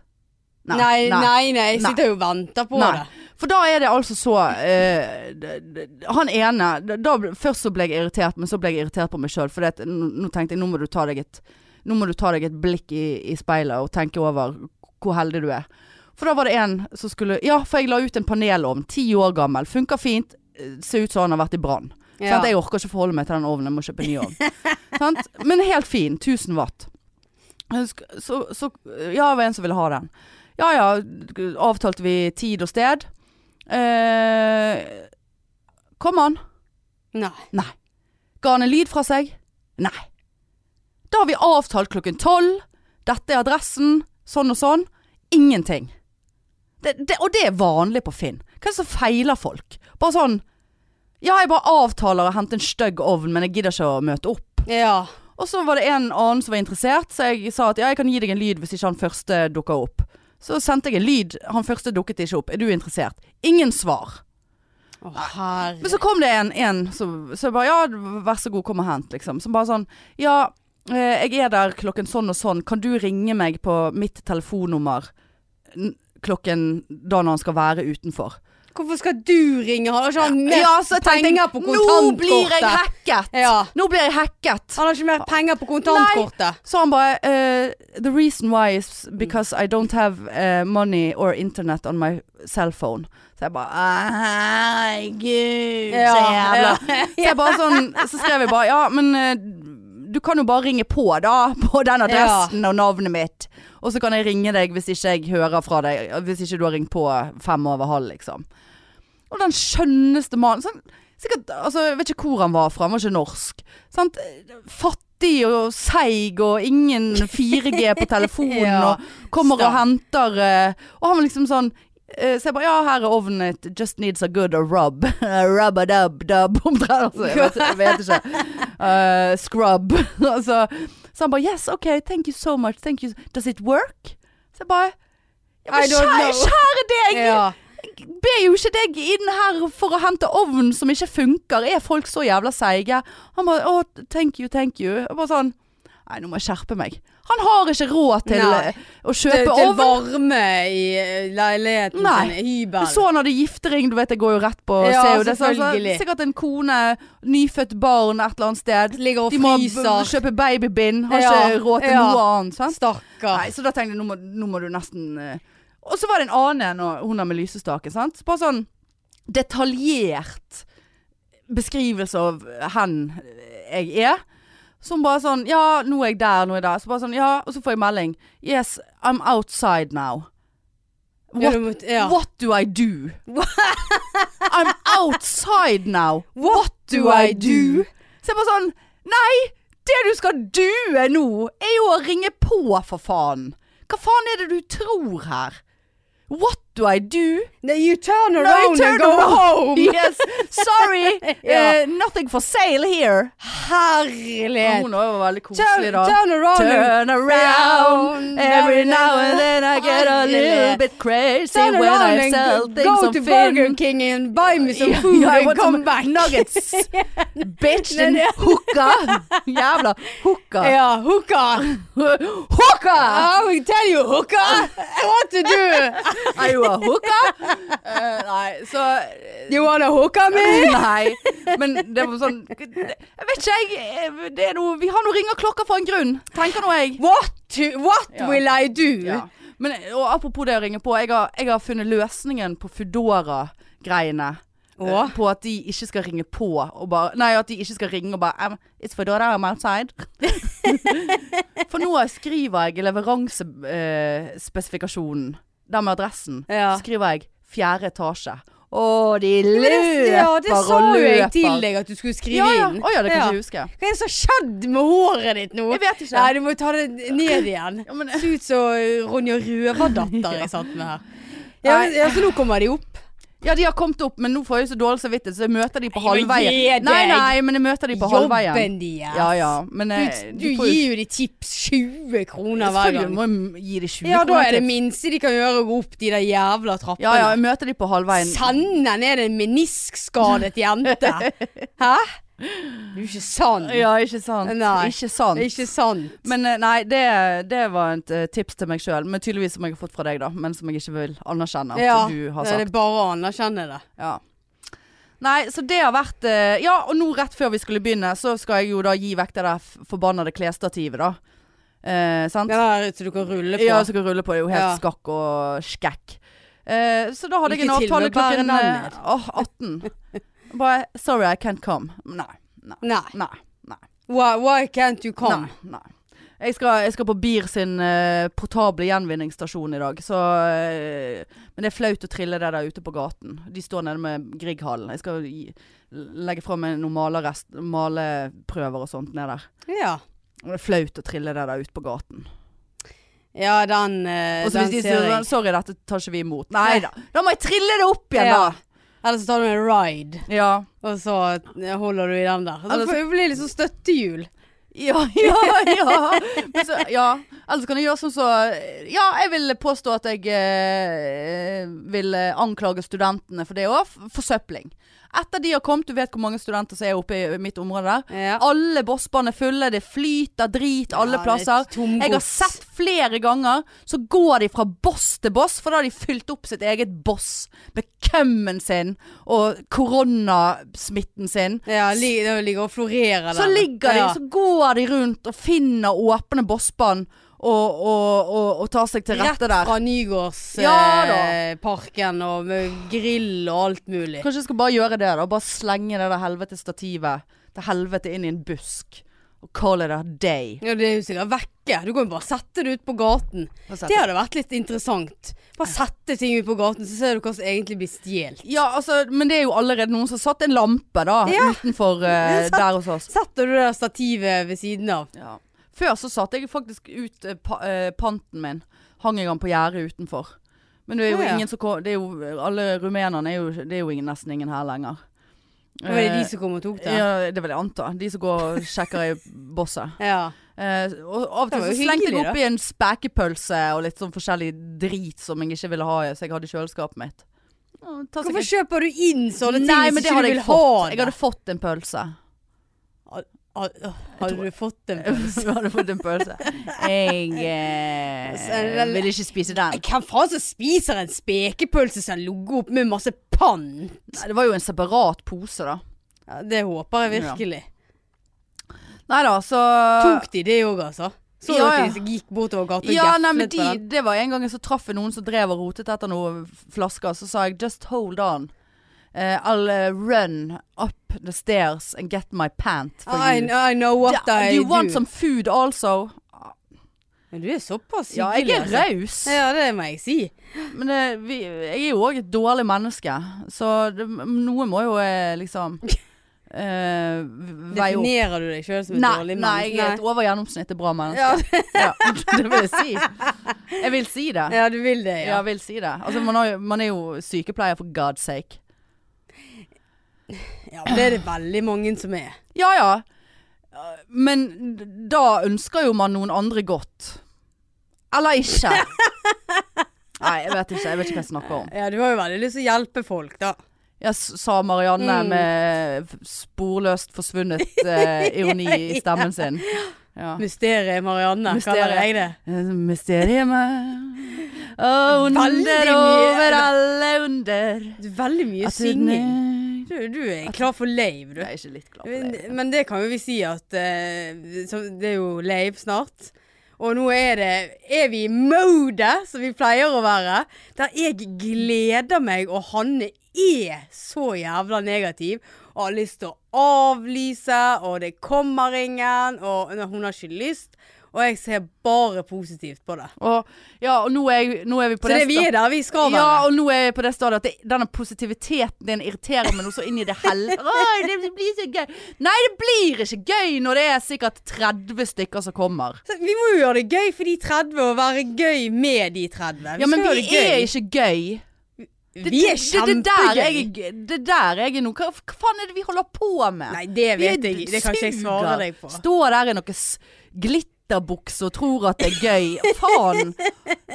[SPEAKER 1] Nei, nei, nei. Jeg
[SPEAKER 2] Nei.
[SPEAKER 1] sitter jo og venter på
[SPEAKER 2] Nei.
[SPEAKER 1] det.
[SPEAKER 2] For da er det altså så eh, d- d- Han ene da- da, ble- Først så ble jeg irritert, men så ble jeg irritert på meg sjøl. For det, at nå nå tenkte jeg nå må du ta deg et, nå må du ta deg et blikk i, i speilet og tenke over hvor heldig du er. For da var det en som skulle Ja, for jeg la ut en panelovn. Ti år gammel. Funker fint. eh, Ser ut som han har vært i brann.
[SPEAKER 1] Ja.
[SPEAKER 2] Sant? Jeg orker ikke forholde meg til den ovnen, jeg må kjøpe en ny ovn. Sant? Men helt fin, 1000 watt. Husk, Så, så ja, det var en som ville ha den. Ja ja, avtalte vi tid og sted. Eh, kom han.
[SPEAKER 1] Nei.
[SPEAKER 2] Ga han en lyd fra seg? Nei. Da har vi avtalt klokken tolv. Dette er adressen. Sånn og sånn. Ingenting. Det, det, og det er vanlig på Finn. Hva er det som feiler folk? Bare sånn Ja, jeg bare avtaler å hente en stygg ovn, men jeg gidder ikke å møte opp.
[SPEAKER 1] Ja.
[SPEAKER 2] Og så var det en annen som var interessert, så jeg sa at ja, jeg kan gi deg en lyd hvis ikke han første dukker opp. Så sendte jeg en lyd. Han første dukket ikke opp. Er du interessert? Ingen svar.
[SPEAKER 1] Å,
[SPEAKER 2] Men
[SPEAKER 1] herre.
[SPEAKER 2] så kom det en, en som så jeg bare ja, vær så god, kom og hent, liksom. Som bare sånn ja, eh, jeg er der klokken sånn og sånn, kan du ringe meg på mitt telefonnummer n- klokken da når han skal være utenfor?
[SPEAKER 1] Hvorfor skal du ringe? Har ikke han mer
[SPEAKER 2] Ja, så jeg tenkte
[SPEAKER 1] penger på
[SPEAKER 2] nå blir jeg
[SPEAKER 1] kontantkortet?
[SPEAKER 2] hacket!
[SPEAKER 1] Ja.
[SPEAKER 2] Nå blir jeg hacket!
[SPEAKER 1] Han har ikke mer penger på kontantkortet.
[SPEAKER 2] Så han bare eh, The reason why is because I don't have eh, money or internet on my cell phone. Så jeg bare «Ah, Herregud,
[SPEAKER 1] Ja,
[SPEAKER 2] så jævla
[SPEAKER 1] ja.
[SPEAKER 2] Så jeg bare sånn Så skrev jeg bare Ja, men eh, du kan jo bare ringe på da På den adressen og navnet mitt Og så kan jeg ringe deg hvis ikke jeg hører fra deg Hvis ikke du har ringt på fem over halv liksom Og den skjønneste mannen sånn, Sikkert, altså jeg vet ikke hvor han var fra Han var ikke norsk sant? Fattig og seig Og
[SPEAKER 1] *laughs*
[SPEAKER 2] ingen 4G på telefonen
[SPEAKER 1] Ja,
[SPEAKER 2] Og kommer og
[SPEAKER 1] stakkar.
[SPEAKER 2] henter eh, Og han var liksom sånn eh, så jeg bare, ja her er ovnen it Just needs a good rub *laughs* Rub a dub dub Omtrent altså, jeg, vet, jeg vet ikke
[SPEAKER 1] *laughs*
[SPEAKER 2] Eh, Scrub *laughs* altså, Så han bare yes ok thank you so much thank you. Does it work? Så jeg bare ja, men
[SPEAKER 1] I don't
[SPEAKER 2] kjære,
[SPEAKER 1] know.
[SPEAKER 2] kjære deg
[SPEAKER 1] Ja.
[SPEAKER 2] ber jo ikke deg inn her for å hente ovn som ikke funker. Er folk så jævla seige? Han bare å, thank you, thank you. Jeg bare sånn Nei, nå må jeg skjerpe meg. Han har ikke råd til
[SPEAKER 1] Nei.
[SPEAKER 2] eh, å
[SPEAKER 1] Til,
[SPEAKER 2] kjøpe
[SPEAKER 1] til
[SPEAKER 2] ovn.
[SPEAKER 1] varme i eh, leiligheten
[SPEAKER 2] Nei.
[SPEAKER 1] sin. Hybel.
[SPEAKER 2] Så han hadde giftering, du vet jeg går jo rett på
[SPEAKER 1] Ja,
[SPEAKER 2] ser jo det, så- så-
[SPEAKER 1] selvfølgelig.
[SPEAKER 2] Sikkert en kone, nyfødt barn et eller annet sted.
[SPEAKER 1] Ligger og
[SPEAKER 2] De må b-
[SPEAKER 1] fryser.
[SPEAKER 2] kjøpe babybind. Har
[SPEAKER 1] Ja,
[SPEAKER 2] ikke råd til
[SPEAKER 1] ja.
[SPEAKER 2] noe annet. Sant?
[SPEAKER 1] Stakkar.
[SPEAKER 2] Nei, så da tenkte jeg, nå må, nå må du nesten eh. Og så var det en annen en, og hun der med lysestaken, sant? Bare sånn detaljert beskrivelse av hen jeg er. Som bare sånn, ja, nå er jeg der, nå er jeg der. Så bare sånn, ja, og så får jeg melding. Yes, I'm outside now.
[SPEAKER 1] Ja,
[SPEAKER 2] What,
[SPEAKER 1] du måtte- ja.
[SPEAKER 2] what do I do? *laughs* I'm outside now. What do I do? Så jeg bare sånn Nei! Det du skal due nå, er jo å ringe på, for faen! Hva faen er det du tror her? What do I do?
[SPEAKER 1] No, You turn
[SPEAKER 2] No,
[SPEAKER 1] around
[SPEAKER 2] you
[SPEAKER 1] and
[SPEAKER 2] turn
[SPEAKER 1] go
[SPEAKER 2] around.
[SPEAKER 1] home.
[SPEAKER 2] *laughs* Yes, *laughs* sorry!
[SPEAKER 1] Ja.
[SPEAKER 2] eh, nothing for sale here.
[SPEAKER 1] Herlighet.
[SPEAKER 2] Hun var veldig
[SPEAKER 1] Turn,
[SPEAKER 2] koselig, da.
[SPEAKER 1] turn around. and-
[SPEAKER 2] Turn around every now and then I get a little bit crazy
[SPEAKER 1] Turn
[SPEAKER 2] when
[SPEAKER 1] around
[SPEAKER 2] I
[SPEAKER 1] and
[SPEAKER 2] sell
[SPEAKER 1] go-
[SPEAKER 2] things
[SPEAKER 1] go
[SPEAKER 2] on
[SPEAKER 1] to
[SPEAKER 2] Finn.
[SPEAKER 1] Burger King and buy me
[SPEAKER 2] *laughs*
[SPEAKER 1] some
[SPEAKER 2] Ja,
[SPEAKER 1] food
[SPEAKER 2] ja, jeg
[SPEAKER 1] and
[SPEAKER 2] måtte
[SPEAKER 1] come
[SPEAKER 2] som-
[SPEAKER 1] *laughs* back.
[SPEAKER 2] Nuggets! Bitch, din hooka! Jævla hooka.
[SPEAKER 1] Ja,
[SPEAKER 2] *laughs*
[SPEAKER 1] hooker.
[SPEAKER 2] Hooka!
[SPEAKER 1] I will tell you,
[SPEAKER 2] *laughs*
[SPEAKER 1] hooker. What to do?
[SPEAKER 2] Er du en
[SPEAKER 1] *laughs*
[SPEAKER 2] hooka? Eh, nei, så
[SPEAKER 1] You wanna hooker me?
[SPEAKER 2] Nei. Men det var sånn Jeg vet ikke, jeg. eh, Det er noe, vi har nå ringer klokka for en grunn, tenker nå jeg.
[SPEAKER 1] What, to, what
[SPEAKER 2] Ja.
[SPEAKER 1] will I do?
[SPEAKER 2] Ja. Men eh, og apropos det å ringe på. Jeg har, jeg har funnet løsningen på Foodora-greiene.
[SPEAKER 1] Å?
[SPEAKER 2] Eh, På at de ikke skal ringe på og bare Nei, at de ikke skal ringe og bare um, It's Foodora, I'm
[SPEAKER 1] *laughs*
[SPEAKER 2] outside. For nå skriver jeg i leveransespesifikasjonen, der med adressen,
[SPEAKER 1] Ja.
[SPEAKER 2] skriver jeg fjerde etasje. Å, de
[SPEAKER 1] Men det-
[SPEAKER 2] løper
[SPEAKER 1] Ja, det sa
[SPEAKER 2] og
[SPEAKER 1] jo jeg
[SPEAKER 2] løper.
[SPEAKER 1] til deg at du skulle skrive
[SPEAKER 2] Ja, ja.
[SPEAKER 1] inn.
[SPEAKER 2] Å ja, det kan
[SPEAKER 1] Ja.
[SPEAKER 2] ikke jeg huske.
[SPEAKER 1] Hva er det som har skjedd med håret ditt nå?
[SPEAKER 2] Jeg vet ikke.
[SPEAKER 1] Nei, du må ta det ned igjen.
[SPEAKER 2] Ja, men,
[SPEAKER 1] Det ser ut som Ronja Røverdatter jeg satt med
[SPEAKER 2] *laughs*
[SPEAKER 1] her. Ja,
[SPEAKER 2] Nei.
[SPEAKER 1] men, ja, så nå kommer de opp.
[SPEAKER 2] ja, de har kommet opp, men nå får jeg så dårlig samvittighet, så jeg møter de på
[SPEAKER 1] Nei, men gi
[SPEAKER 2] halvveien.
[SPEAKER 1] deg.
[SPEAKER 2] Nei, nei, men jeg møter de på halvveien.
[SPEAKER 1] Jobben deres.
[SPEAKER 2] Ja, ja. Men
[SPEAKER 1] Du,
[SPEAKER 2] eh, de
[SPEAKER 1] du
[SPEAKER 2] får jo-
[SPEAKER 1] gir jo de tips 20 kroner hver gang.
[SPEAKER 2] Selvfølgelig må jeg gi de 20
[SPEAKER 1] Ja, da er det
[SPEAKER 2] tips.
[SPEAKER 1] minste de kan gjøre å gå opp de der jævla trappene.
[SPEAKER 2] Ja, ja, jeg møter de på halvveien.
[SPEAKER 1] Sende ned en meniskskadet
[SPEAKER 2] *laughs*
[SPEAKER 1] jente. Hæ? Det er jo ikke sant.
[SPEAKER 2] Ja, ikke sant.
[SPEAKER 1] Nei.
[SPEAKER 2] Ikke sant.
[SPEAKER 1] Det er ikke sant.
[SPEAKER 2] Men eh, nei, det, det var et eh, tips til meg sjøl. Men tydeligvis som jeg har fått fra deg, da. Men som jeg ikke vil anerkjenne at
[SPEAKER 1] ja,
[SPEAKER 2] du har
[SPEAKER 1] det er
[SPEAKER 2] sagt.
[SPEAKER 1] bare å anerkjenne det.
[SPEAKER 2] Ja. Nei, så det har vært eh, Ja, og nå rett før vi skulle begynne, så skal jeg jo da gi vekk det der f- forbannede klesstativet, da. Eh, sant?
[SPEAKER 1] Den der som du kan rulle på.
[SPEAKER 2] Ja, som kan rulle på. Det er jo helt
[SPEAKER 1] Ja.
[SPEAKER 2] skakk og skekk. Eh, så da hadde jeg en
[SPEAKER 1] Lykke til
[SPEAKER 2] avtale
[SPEAKER 1] med å bære
[SPEAKER 2] klokken eh,
[SPEAKER 1] navnet.
[SPEAKER 2] åh, 18. Bare Sorry, I can't come. Nei.
[SPEAKER 1] Nei.
[SPEAKER 2] Nei. Nei.
[SPEAKER 1] Why, why can't you come?
[SPEAKER 2] Nei, nei. Jeg skal, jeg skal på BIR sin eh, portable gjenvinningsstasjon i dag, så eh, Men det er flaut å trille det der ute på gaten. De står nede med Grieghallen. Jeg skal gi, legge fra meg noen malerrest, maleprøver og sånt ned der.
[SPEAKER 1] Ja.
[SPEAKER 2] Og det er flaut å trille det der ute på gaten.
[SPEAKER 1] Ja, den, eh,
[SPEAKER 2] Og så
[SPEAKER 1] den
[SPEAKER 2] hvis de
[SPEAKER 1] ser
[SPEAKER 2] sier
[SPEAKER 1] jeg.
[SPEAKER 2] sånn, sorry, dette tar ikke vi imot. Nei da. Da må jeg trille det opp igjen,
[SPEAKER 1] Ja.
[SPEAKER 2] da.
[SPEAKER 1] Eller så tar du en ride,
[SPEAKER 2] Ja.
[SPEAKER 1] og så holder du i den der. Så
[SPEAKER 2] Eller så-
[SPEAKER 1] får du bli litt sånn støttehjul.
[SPEAKER 2] Ja, *laughs* ja, ja. Men så, ja. Eller så kan jeg gjøre sånn så Ja, jeg vil påstå at jeg eh, vil eh, anklage studentene for det òg. Forsøpling. Etter de har kommet, du vet hvor mange studenter som er oppe i mitt område der.
[SPEAKER 1] Ja.
[SPEAKER 2] Alle bossbanen er fulle, det flyter drit
[SPEAKER 1] Ja,
[SPEAKER 2] alle
[SPEAKER 1] det er
[SPEAKER 2] plasser.
[SPEAKER 1] tomgods.
[SPEAKER 2] Jeg har sett flere ganger, så går de fra boss til boss, for da har de fylt opp sitt eget boss med kømmen sin og koronasmitten sin.
[SPEAKER 1] Ja, li, det ligger og florerer
[SPEAKER 2] Så
[SPEAKER 1] den.
[SPEAKER 2] ligger de,
[SPEAKER 1] ja.
[SPEAKER 2] så går de rundt og finner åpne bossbånd og, og, og, og tar seg til
[SPEAKER 1] Rett
[SPEAKER 2] rette der.
[SPEAKER 1] fra Nygårdsparken
[SPEAKER 2] Ja
[SPEAKER 1] eh, parken, og med grill og alt mulig.
[SPEAKER 2] Kanskje jeg skal bare gjøre det, da. Bare slenge det der helvete stativet til helvete inn i en busk. Og call it a day.
[SPEAKER 1] Ja, det er jo sikkert vekke. Du kan jo bare sette det ut på gaten.
[SPEAKER 2] Og sette-
[SPEAKER 1] Det hadde vært litt interessant. Bare sette ting ut på gaten, så ser du hva som egentlig blir stjålet.
[SPEAKER 2] Ja, altså, men det er jo allerede noen som har satt en lampe da,
[SPEAKER 1] Ja.
[SPEAKER 2] utenfor eh,
[SPEAKER 1] Ja, sant.
[SPEAKER 2] der hos oss.
[SPEAKER 1] Setter du det der stativet ved siden av?
[SPEAKER 2] Ja. Før så satte jeg faktisk ut eh, pa eh, panten min. Hang jeg den på gjerdet utenfor. Men det er jo
[SPEAKER 1] Ja, ja.
[SPEAKER 2] ingen som kom, det er jo, Alle rumenerne er jo, det er jo ingen, nesten ingen her lenger.
[SPEAKER 1] Det var det
[SPEAKER 2] Eh,
[SPEAKER 1] de som kom og tok det? Ja.
[SPEAKER 2] Ja, det vil jeg anta. De som går og sjekker i bosset. Eh, og av og
[SPEAKER 1] Det
[SPEAKER 2] til
[SPEAKER 1] var
[SPEAKER 2] så
[SPEAKER 1] jo
[SPEAKER 2] slengte jeg
[SPEAKER 1] hyggelig, da.
[SPEAKER 2] oppi en spekepølse og litt sånn forskjellig drit som jeg ikke ville ha, i, så jeg hadde i kjøleskapet mitt. Ja, ta seg
[SPEAKER 1] Hvorfor
[SPEAKER 2] en-
[SPEAKER 1] kjøper du inn sånne ting
[SPEAKER 2] Altså, Nei, men
[SPEAKER 1] hvis
[SPEAKER 2] det
[SPEAKER 1] ikke du
[SPEAKER 2] hadde jeg
[SPEAKER 1] vil
[SPEAKER 2] fått.
[SPEAKER 1] ha
[SPEAKER 2] Jeg
[SPEAKER 1] det?
[SPEAKER 2] hadde fått en pølse.
[SPEAKER 1] Hadde, hadde du fått en
[SPEAKER 2] *laughs* Så jeg hadde fått en pølse. *laughs* Jeg eh,
[SPEAKER 1] Så-
[SPEAKER 2] ville ikke spise den.
[SPEAKER 1] Hvem faen som spiser en spekepølse som ligger opp med masse pann?
[SPEAKER 2] Nei, det var jo en separat pose, da.
[SPEAKER 1] Ja, det håper jeg virkelig.
[SPEAKER 2] Nei da, så
[SPEAKER 1] Tok de det òg, altså? Så
[SPEAKER 2] Ja,
[SPEAKER 1] dere
[SPEAKER 2] ja.
[SPEAKER 1] de gikk bortover gata og
[SPEAKER 2] Ja, nei,
[SPEAKER 1] gaflet
[SPEAKER 2] men de,
[SPEAKER 1] på den?
[SPEAKER 2] det var en gang jeg så traff jeg noen som drev og rotet etter noen flasker. Så sa jeg 'just hold on'. Eh, I'll eh, run up the stairs and get my pant for
[SPEAKER 1] I,
[SPEAKER 2] you.
[SPEAKER 1] I know what
[SPEAKER 2] Ja,
[SPEAKER 1] I
[SPEAKER 2] do you
[SPEAKER 1] do.
[SPEAKER 2] want some food also?
[SPEAKER 1] Men du er såpass
[SPEAKER 2] Ja, jeg er
[SPEAKER 1] altså.
[SPEAKER 2] raus.
[SPEAKER 1] Ja, det må jeg si.
[SPEAKER 2] Men det, vi, jeg er jo òg et dårlig menneske. Så det, noe må jo eh,
[SPEAKER 1] *laughs*
[SPEAKER 2] liksom eh, veie opp.
[SPEAKER 1] Definerer du deg sjøl som et
[SPEAKER 2] Nei,
[SPEAKER 1] dårlig
[SPEAKER 2] nei, jeg er et
[SPEAKER 1] menneske?
[SPEAKER 2] over gjennomsnittet bra menneske.
[SPEAKER 1] Ja.
[SPEAKER 2] *laughs* Ja, det vil jeg si. Jeg vil si det.
[SPEAKER 1] Ja, du vil det,
[SPEAKER 2] Ja,
[SPEAKER 1] ja.
[SPEAKER 2] jeg vil si det. Altså, man, har, jo- man er jo sykepleier for god's sake.
[SPEAKER 1] ja. men Det er det veldig mange som er.
[SPEAKER 2] Ja, ja. Eh, Men d- da ønsker jo man noen andre godt. Eller
[SPEAKER 1] *laughs*
[SPEAKER 2] ikke. Nei, jeg vet ikke. Jeg vet ikke hva jeg snakker om.
[SPEAKER 1] Ja, du har jo veldig lyst til å hjelpe folk, da.
[SPEAKER 2] Ja, s- sa Marianne
[SPEAKER 1] Mm.
[SPEAKER 2] med f- sporløst forsvunnet eh, ironi i stemmen sin. Ja.
[SPEAKER 1] Mysteriet Marianne,
[SPEAKER 2] Mysteriet.
[SPEAKER 1] kaller jeg det.
[SPEAKER 2] Mysteriet og
[SPEAKER 1] Veldig
[SPEAKER 2] under
[SPEAKER 1] mye.
[SPEAKER 2] over alle under.
[SPEAKER 1] Det er veldig mye
[SPEAKER 2] At du-
[SPEAKER 1] synging. Du, du er klar for lave, du.
[SPEAKER 2] Jeg er ikke litt glad for
[SPEAKER 1] Men,
[SPEAKER 2] det.
[SPEAKER 1] men det kan jo vi si at eh, så Det er jo lave snart. Og nå er det Er vi i mode, som vi pleier å være. Der jeg gleder meg, og Hanne er så jævla negativ. Og har lyst til å avlyse, og det kommer ingen, og nei, hun har ikke lyst. Og jeg ser bare positivt på det.
[SPEAKER 2] Og, ja, og nå er, jeg- nå er vi på
[SPEAKER 1] Så det vi
[SPEAKER 2] sta-
[SPEAKER 1] er der vi skal være.
[SPEAKER 2] Ja, og nå er jeg på det stadiet at det, denne positiviteten din irriterer meg noe så inn i det helvete. Åh, Det blir så gøy. Nei, det blir ikke gøy når det er sikkert 30 stykker som kommer.
[SPEAKER 1] Så vi må jo gjøre det gøy for de 30, og være gøy med de 30.
[SPEAKER 2] Ja, men
[SPEAKER 1] skal
[SPEAKER 2] vi
[SPEAKER 1] gjøre det
[SPEAKER 2] er
[SPEAKER 1] gøy.
[SPEAKER 2] ikke gøy. Det,
[SPEAKER 1] Vi er
[SPEAKER 2] det, det, det, der
[SPEAKER 1] kjempegøy.
[SPEAKER 2] jeg, er- det der jeg er nå. Hva, hva faen er det vi holder på med?
[SPEAKER 1] Nei, det
[SPEAKER 2] Vi
[SPEAKER 1] vet jeg ikke. Det kan ikke jeg svare
[SPEAKER 2] suger.
[SPEAKER 1] deg på.
[SPEAKER 2] Står der i noen s- glitterbukser og tror at det er gøy. Faen.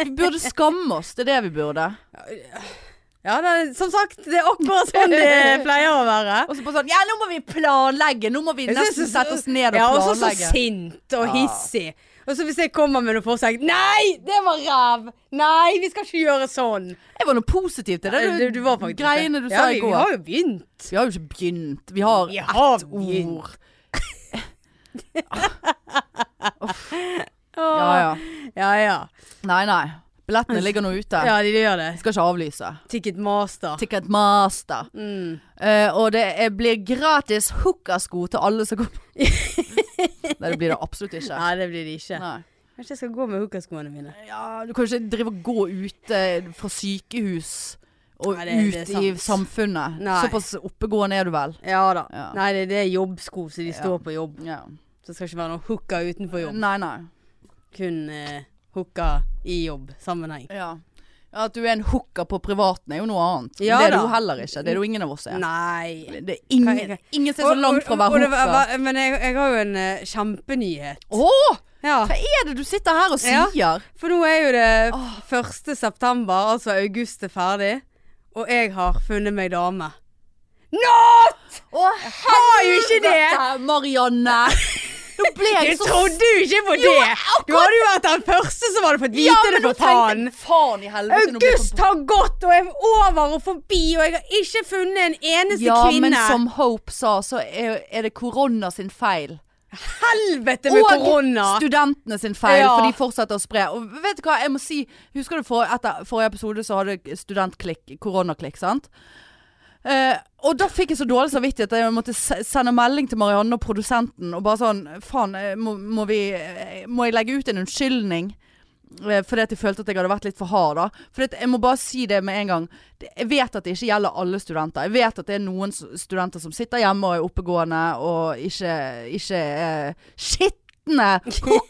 [SPEAKER 2] Vi burde skamme oss. Det er det vi burde.
[SPEAKER 1] Ja, det er, som sagt, det er akkurat sånn
[SPEAKER 2] *laughs*
[SPEAKER 1] det pleier å være.
[SPEAKER 2] Og så bare sånn Ja, nå må vi planlegge! Nå må vi
[SPEAKER 1] Jeg synes
[SPEAKER 2] nesten
[SPEAKER 1] det-
[SPEAKER 2] sette oss ned og
[SPEAKER 1] Ja, og så
[SPEAKER 2] planlegge.
[SPEAKER 1] så sint og
[SPEAKER 2] Ja.
[SPEAKER 1] hissig. Og så hvis jeg kommer med noe forslag Nei, det var ræv! Nei, vi skal ikke gjøre sånn. Eh,
[SPEAKER 2] Jeg var noe positiv til det.
[SPEAKER 1] Du, du var faktisk
[SPEAKER 2] greiene du
[SPEAKER 1] ja,
[SPEAKER 2] sa
[SPEAKER 1] vi,
[SPEAKER 2] i går.
[SPEAKER 1] Vi har jo begynt.
[SPEAKER 2] Vi har jo ikke begynt. Vi har
[SPEAKER 1] Vi har
[SPEAKER 2] ett
[SPEAKER 1] begynt.
[SPEAKER 2] ord. Ja, ja.
[SPEAKER 1] ja. ja.
[SPEAKER 2] Nei, nei. Billettene ligger nå ute.
[SPEAKER 1] Ja, de gjør det.
[SPEAKER 2] Jeg skal ikke avlyse.
[SPEAKER 1] Ticketmaster.
[SPEAKER 2] Ticketmaster.
[SPEAKER 1] Mm.
[SPEAKER 2] Eh, og det er, blir gratis hookersko til alle
[SPEAKER 1] *laughs*
[SPEAKER 2] som kommer. nei, det blir det absolutt ikke.
[SPEAKER 1] Nei, det blir det ikke.
[SPEAKER 2] Nei.
[SPEAKER 1] Kanskje jeg skal gå med hookerskoene mine.
[SPEAKER 2] Ja, du kan jo ikke drive og gå ute fra sykehus og
[SPEAKER 1] Nei, det-
[SPEAKER 2] ut
[SPEAKER 1] det er
[SPEAKER 2] i
[SPEAKER 1] sant.
[SPEAKER 2] samfunnet.
[SPEAKER 1] Nei.
[SPEAKER 2] Såpass oppegående er du vel.
[SPEAKER 1] Ja da.
[SPEAKER 2] Ja.
[SPEAKER 1] Nei, det, det er jobbsko, så de
[SPEAKER 2] Ja.
[SPEAKER 1] står på jobb.
[SPEAKER 2] Ja.
[SPEAKER 1] Så det skal ikke være noen hooker utenfor jobb.
[SPEAKER 2] Nei, nei.
[SPEAKER 1] Kun eh, hooka i jobbsammenheng.
[SPEAKER 2] Ja. At du er en hooker på privaten er jo noe annet.
[SPEAKER 1] Ja
[SPEAKER 2] det er
[SPEAKER 1] da.
[SPEAKER 2] du heller ikke. Det er jo ingen av oss er.
[SPEAKER 1] Nei.
[SPEAKER 2] Det er ingen,
[SPEAKER 1] Hva- hva-
[SPEAKER 2] ingen som er så langt fra å være
[SPEAKER 1] Og- og- og det
[SPEAKER 2] hooker.
[SPEAKER 1] var- var- Men jeg, jeg har jo en eh, kjempenyhet.
[SPEAKER 2] Å!
[SPEAKER 1] Ja.
[SPEAKER 2] Hva er det du sitter her og
[SPEAKER 1] Ja.
[SPEAKER 2] sier?
[SPEAKER 1] For nå er jo det
[SPEAKER 2] Åh.
[SPEAKER 1] 1. september, altså august er ferdig, og jeg har funnet meg dame. Not!
[SPEAKER 2] Å,
[SPEAKER 1] Har jo ikke det!
[SPEAKER 2] helvete, Marianne! Nå ble
[SPEAKER 1] Du
[SPEAKER 2] jeg så
[SPEAKER 1] trodde jo ikke på
[SPEAKER 2] Jo,
[SPEAKER 1] det! Du hadde jo vært den første som hadde fått vite
[SPEAKER 2] Ja, men
[SPEAKER 1] det, for
[SPEAKER 2] nå tenkte
[SPEAKER 1] faen!
[SPEAKER 2] jeg, Faen i helvete. nå ble jeg
[SPEAKER 1] August har gått og er over og forbi, og jeg har ikke funnet en
[SPEAKER 2] for-
[SPEAKER 1] eneste
[SPEAKER 2] Ja,
[SPEAKER 1] kvinne.
[SPEAKER 2] men som Hope sa, så er, er det korona sin feil.
[SPEAKER 1] Helvete med korona!
[SPEAKER 2] Og studentene sin feil,
[SPEAKER 1] Ja.
[SPEAKER 2] for de fortsetter å spre. Og vet du hva, jeg må si Husker du for, etter forrige episode så hadde studentklikk, koronaklikk, sant? Eh, og da fikk jeg så dårlig samvittighet at jeg måtte se- sende melding til Marianne og produsenten og bare sånn Faen, eh, må, må vi eh, Må jeg legge ut en unnskyldning? Eh, Fordi at jeg følte at jeg hadde vært litt for hard da Fordi at jeg må bare si det med en gang Det- Jeg vet at det ikke gjelder alle studenter Jeg vet at det er noen s- studenter som sitter hjemme og er oppegående Og ikke, ikke er skittende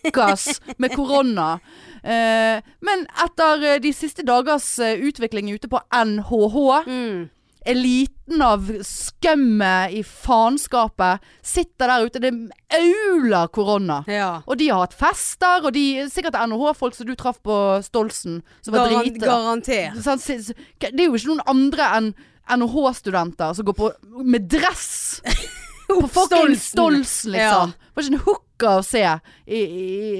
[SPEAKER 2] hookers med korona Eh, Men etter eh, de siste dagers eh, utvikling ute på NHH
[SPEAKER 1] Mm.
[SPEAKER 2] Eliten av skømme i fanskapet Sitter der ute, det auler korona
[SPEAKER 1] Ja.
[SPEAKER 2] og de har hatt fester, og de sikkert NHH-folk som du traff på Stolsen, som var
[SPEAKER 1] Garan
[SPEAKER 2] drita.
[SPEAKER 1] garantert.
[SPEAKER 2] Sånn, si- si- Det er jo ikke noen andre enn NHH-studenter som går på med
[SPEAKER 1] *laughs*
[SPEAKER 2] dress på fucking Stolsen, liksom. Det var ikke en hooker å se i,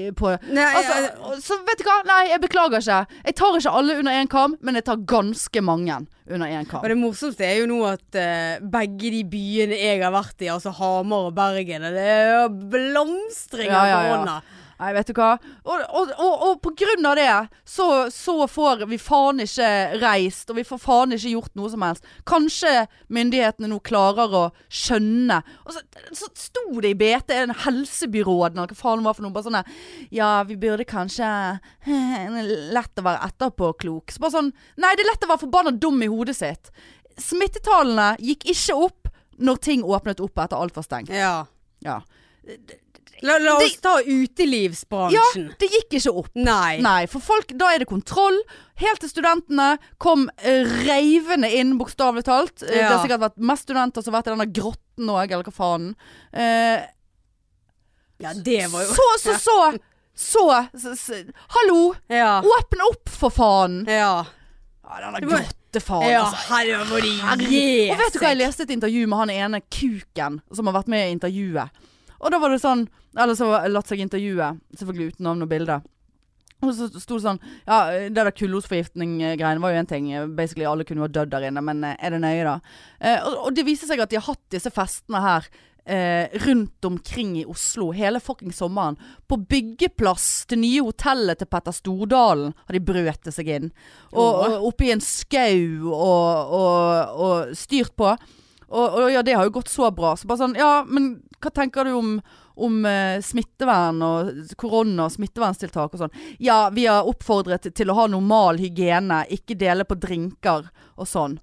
[SPEAKER 2] i, på
[SPEAKER 1] Nei,
[SPEAKER 2] Altså,
[SPEAKER 1] ja,
[SPEAKER 2] og- så vet du hva? Nei, jeg beklager ikke. Jeg tar ikke alle under én kam, men jeg tar ganske mange under én kam.
[SPEAKER 1] og det morsomste er jo nå at eh, begge de byene jeg har vært i, altså Hamar og Bergen, det er jo blomstring av
[SPEAKER 2] Ja, ja, ja.
[SPEAKER 1] korona.
[SPEAKER 2] Nei, vet du hva. Og, og, og, og på grunn av det, så, så får vi faen ikke reist, og vi får faen ikke gjort noe som helst. Kanskje myndighetene nå klarer å skjønne. Og så, så sto det i BT, en helsebyråd, eller hva faen det var for noe, bare sånn der, Ja, vi burde kanskje eh, Lett å være etterpåklok. Så bare sånn Nei, det er lett å være forbanna dum i hodet sitt. Smittetallene gikk ikke opp når ting åpnet opp etter alt var stengt.
[SPEAKER 1] Ja.
[SPEAKER 2] Ja.
[SPEAKER 1] La, la
[SPEAKER 2] Det-
[SPEAKER 1] oss ta
[SPEAKER 2] ja,
[SPEAKER 1] utelivsbransjen.
[SPEAKER 2] det gikk ikke opp.
[SPEAKER 1] Nei.
[SPEAKER 2] Nei, for folk, da er det kontroll. Helt til studentene kom eh, reivende inn, bokstavelig talt. Eh, Det
[SPEAKER 1] Ja.
[SPEAKER 2] har sikkert vært mest studenter som har vært i denne grotten òg, eller hva faen. Eh,
[SPEAKER 1] Ja, det var jo
[SPEAKER 2] så, så, så, så, så, så Hallo!
[SPEAKER 1] Ja.
[SPEAKER 2] Åpne opp, for faen!
[SPEAKER 1] Ja.
[SPEAKER 2] Ja, denne
[SPEAKER 1] Du må-
[SPEAKER 2] grottefaen,
[SPEAKER 1] ja
[SPEAKER 2] altså.
[SPEAKER 1] herre, må de
[SPEAKER 2] Herregud.
[SPEAKER 1] gi
[SPEAKER 2] Og vet du hva, jeg leste et intervju med han ene kuken som har vært med i intervjuet. Og da var det sånn Eller så latt seg intervjue, selvfølgelig uten navn og bilde. Og så sto det sånn Ja, det der kullosforgiftning-greiene var jo én ting. Basically alle kunne jo ha dødd der inne, men eh, er det nøye, da? Eh, og, og det viser seg at de har hatt disse festene her eh, rundt omkring i Oslo hele fucking sommeren. På byggeplass til nye hotellet til Petter Stordalen har de brøtet seg inn. Og,
[SPEAKER 1] Åh.
[SPEAKER 2] og oppi en skau og, og, og styrt på. Og, og ja, det har jo gått så bra. Så bare sånn Ja, men hva tenker du om om eh, smittevern og korona og smitteverntiltak og sånn. Ja, vi har oppfordret til å ha normal hygiene, ikke dele på drinker og sånn.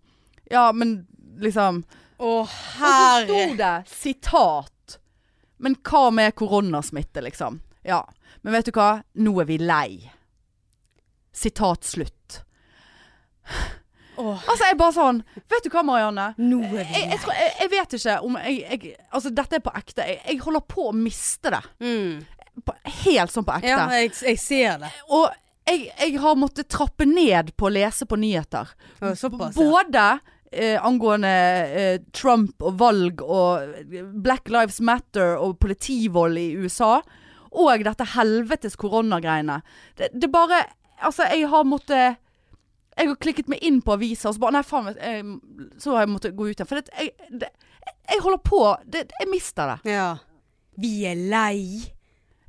[SPEAKER 2] Ja, men liksom
[SPEAKER 1] Å,
[SPEAKER 2] Og så sto
[SPEAKER 1] herre
[SPEAKER 2] det sitat. Men hva med koronasmitte, liksom? Ja. Men vet du hva? Nå er vi lei. Sitat slutt.
[SPEAKER 1] Å,
[SPEAKER 2] Altså, jeg bare sånn Vet du hva, Marianne?
[SPEAKER 1] Nå er vi
[SPEAKER 2] Jeg, jeg, tror, jeg, jeg vet ikke om jeg, jeg Altså, dette er på ekte. Jeg, jeg holder på å miste det.
[SPEAKER 1] mm.
[SPEAKER 2] På, helt sånn på ekte.
[SPEAKER 1] Ja, jeg, jeg ser det.
[SPEAKER 2] Og jeg, jeg har måttet trappe ned på å lese på nyheter.
[SPEAKER 1] Å, Såpass. ja.
[SPEAKER 2] Både eh, angående eh, Trump og valg og eh, Black Lives Matter og politivold i USA. Og dette helvetes koronagreiene. Det, det bare Altså, jeg har måttet Jeg har klikket meg inn på aviser, og så bare Nei, faen. vet- Jeg, så har jeg måttet gå ut igjen. For det, jeg, det, jeg holder på det, Jeg mister det.
[SPEAKER 1] Ja. Vi er lei.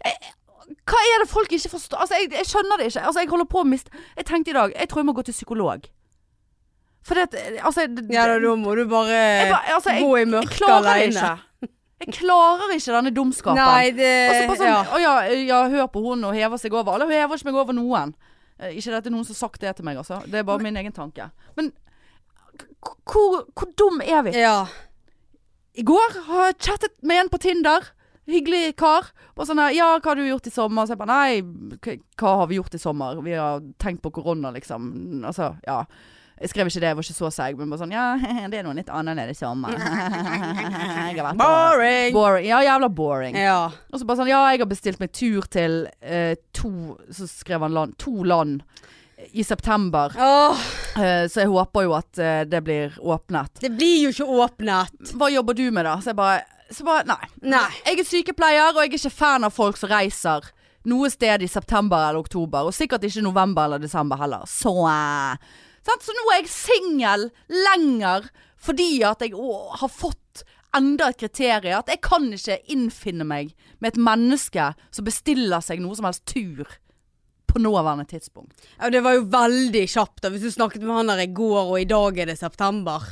[SPEAKER 2] Hva er det folk ikke forstår? Altså, jeg, jeg skjønner det ikke. Altså, jeg holder på å miste Jeg tenkte i dag Jeg tror jeg må gå til psykolog. For det at Altså det,
[SPEAKER 1] Ja, da, da må du bare,
[SPEAKER 2] jeg, bare- altså, jeg,
[SPEAKER 1] gå i
[SPEAKER 2] jeg
[SPEAKER 1] mørket
[SPEAKER 2] klarer det
[SPEAKER 1] alene.
[SPEAKER 2] ikke. Jeg klarer ikke denne dumskapen.
[SPEAKER 1] Nei, det
[SPEAKER 2] Og så bare sånn,
[SPEAKER 1] ja.
[SPEAKER 2] Å ja, ja, hør på hun og hever seg over. Eller hun hever ikke meg over noen. Eh, Ikke dette er noen som har sagt det til meg, altså. Det er bare min egen tanke. Men k- hvor, hvor dum er vi?
[SPEAKER 1] ja.
[SPEAKER 2] I går har jeg chattet med en på Tinder. hyggelig kar. Og sånn her, ja, hva har du gjort i sommer? Så jeg bare, nei, k- hva har vi gjort i sommer? Vi har tenkt på korona, liksom. Altså, ja. Jeg skrev ikke det, jeg var ikke så seig, men bare sånn, ja, *laughs* det er noe litt annerledes i sommer. *laughs* Jeg har vært på-
[SPEAKER 1] Boring!
[SPEAKER 2] Boring. Ja, jævla boring.
[SPEAKER 1] Ja.
[SPEAKER 2] Og så bare sånn, ja, jeg har bestilt meg tur til eh, to, så skrev han land, to land i september.
[SPEAKER 1] Åh,
[SPEAKER 2] Eh, så jeg håper jo at eh, det blir åpnet.
[SPEAKER 1] det blir jo ikke åpnet.
[SPEAKER 2] Hva jobber du med da? Så jeg bare, så bare nei.
[SPEAKER 1] Nei.
[SPEAKER 2] Jeg er sykepleier, og jeg er ikke fan av folk som reiser noe sted i september eller oktober. Og sikkert ikke november eller desember heller. Så, eh, sant? så nå er jeg singel lenger fordi at jeg å, har fått enda et kriterium. At jeg kan ikke innfinne meg med et menneske som bestiller seg noe som helst tur på nåværende tidspunkt.
[SPEAKER 1] Ja, det var jo veldig kjapt da, hvis du snakket med han der i går, og i dag er det september.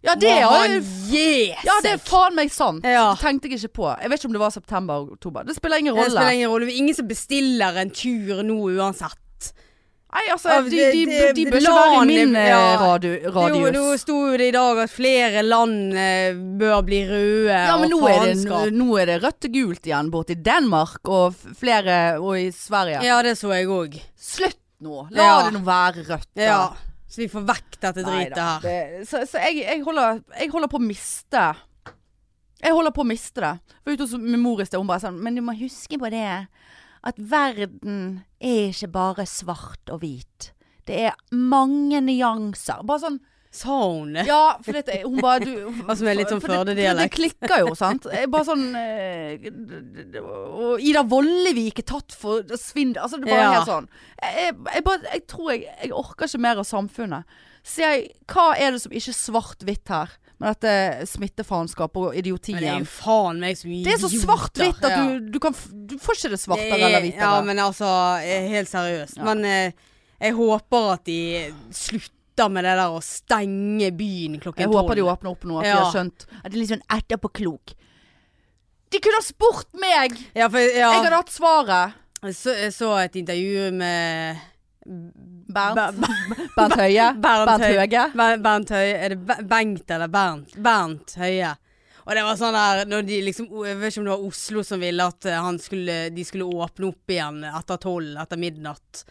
[SPEAKER 2] Ja, det
[SPEAKER 1] Må
[SPEAKER 2] er,
[SPEAKER 1] han gi seg!
[SPEAKER 2] ja, det er faen meg sant.
[SPEAKER 1] Ja.
[SPEAKER 2] Det tenkte jeg ikke på. Jeg vet ikke om det var september eller oktober. Det spiller ingen
[SPEAKER 1] Det
[SPEAKER 2] rolle.
[SPEAKER 1] spiller ingen rolle. Det er ingen som bestiller en tur nå uansett.
[SPEAKER 2] Nei, altså,
[SPEAKER 1] Av
[SPEAKER 2] de,
[SPEAKER 1] det-
[SPEAKER 2] de, de,
[SPEAKER 1] det-
[SPEAKER 2] bør
[SPEAKER 1] det-
[SPEAKER 2] ikke være i
[SPEAKER 1] LAN,
[SPEAKER 2] min eh,
[SPEAKER 1] ja.
[SPEAKER 2] radio,
[SPEAKER 1] Jo, nå
[SPEAKER 2] radius.
[SPEAKER 1] sto jo det i dag at flere land eh, bør bli røde
[SPEAKER 2] Ja, men nå
[SPEAKER 1] og
[SPEAKER 2] er, det,
[SPEAKER 1] faenskap.
[SPEAKER 2] nå er det rødt og gult igjen borte i Danmark og f- flere og i Sverige.
[SPEAKER 1] Ja, det så jeg òg.
[SPEAKER 2] Slutt nå! La
[SPEAKER 1] Ja.
[SPEAKER 2] det nå være rødt. da.
[SPEAKER 1] Ja. Så vi får vekk dette
[SPEAKER 2] Nei
[SPEAKER 1] dritet
[SPEAKER 2] da.
[SPEAKER 1] her.
[SPEAKER 2] Det, så så jeg, jeg, holder, jeg holder på å miste Jeg holder på å miste det. Jeg var ute hos min mor i sted, hun bare sånn Men du må huske på det at verden er ikke bare svart og hvit. Det er mange nyanser. Bare sånn
[SPEAKER 1] Sa hun det?
[SPEAKER 2] Ja, for dette, hun bare du,
[SPEAKER 1] Altså, med litt sånn
[SPEAKER 2] for det- for
[SPEAKER 1] Førde-dialekt.
[SPEAKER 2] Det klikker jo, sant. Jeg bare sånn eh, d- d- d- Og Ida Vollevik er tatt for svindel. Altså, det er bare
[SPEAKER 1] Ja.
[SPEAKER 2] helt sånn. Jeg, jeg- jeg, bare, jeg tror jeg, jeg orker ikke mer av samfunnet. Så jeg, hva er det som ikke er svart-hvitt her? Med dette smittefaenskapet
[SPEAKER 1] Men
[SPEAKER 2] og
[SPEAKER 1] det er
[SPEAKER 2] idiotien.
[SPEAKER 1] jo faen meg så
[SPEAKER 2] Det er så svart-hvitt at du, du kan f- Du får ikke det
[SPEAKER 1] Det
[SPEAKER 2] svartere
[SPEAKER 1] er-
[SPEAKER 2] eller hvitere.
[SPEAKER 1] Ja, men altså, eh, helt seriøst. Men eh, jeg håper at de slutter med det der å stenge byen klokken
[SPEAKER 2] Jeg
[SPEAKER 1] tolv.
[SPEAKER 2] håper de åpner opp nå, at de
[SPEAKER 1] Ja.
[SPEAKER 2] har skjønt at det er litt sånn etterpåklok. De kunne ha spurt meg!
[SPEAKER 1] Ja, for
[SPEAKER 2] Jeg
[SPEAKER 1] ja,
[SPEAKER 2] hadde hatt svaret.
[SPEAKER 1] jeg så, jeg så et intervju med
[SPEAKER 2] Bernt.
[SPEAKER 1] Ber-
[SPEAKER 2] *laughs* Bernt Høie.
[SPEAKER 1] Bernt
[SPEAKER 2] Bernt
[SPEAKER 1] Høie.
[SPEAKER 2] Høge.
[SPEAKER 1] Ber- Bernt Høie. Er det Be- Bengt eller Bernt? Bernt Høie. Og det var sånn der når de liksom, Jeg vet ikke om det var Oslo som ville at eh, han skulle, de skulle åpne opp igjen etter tolv, etter midnatt.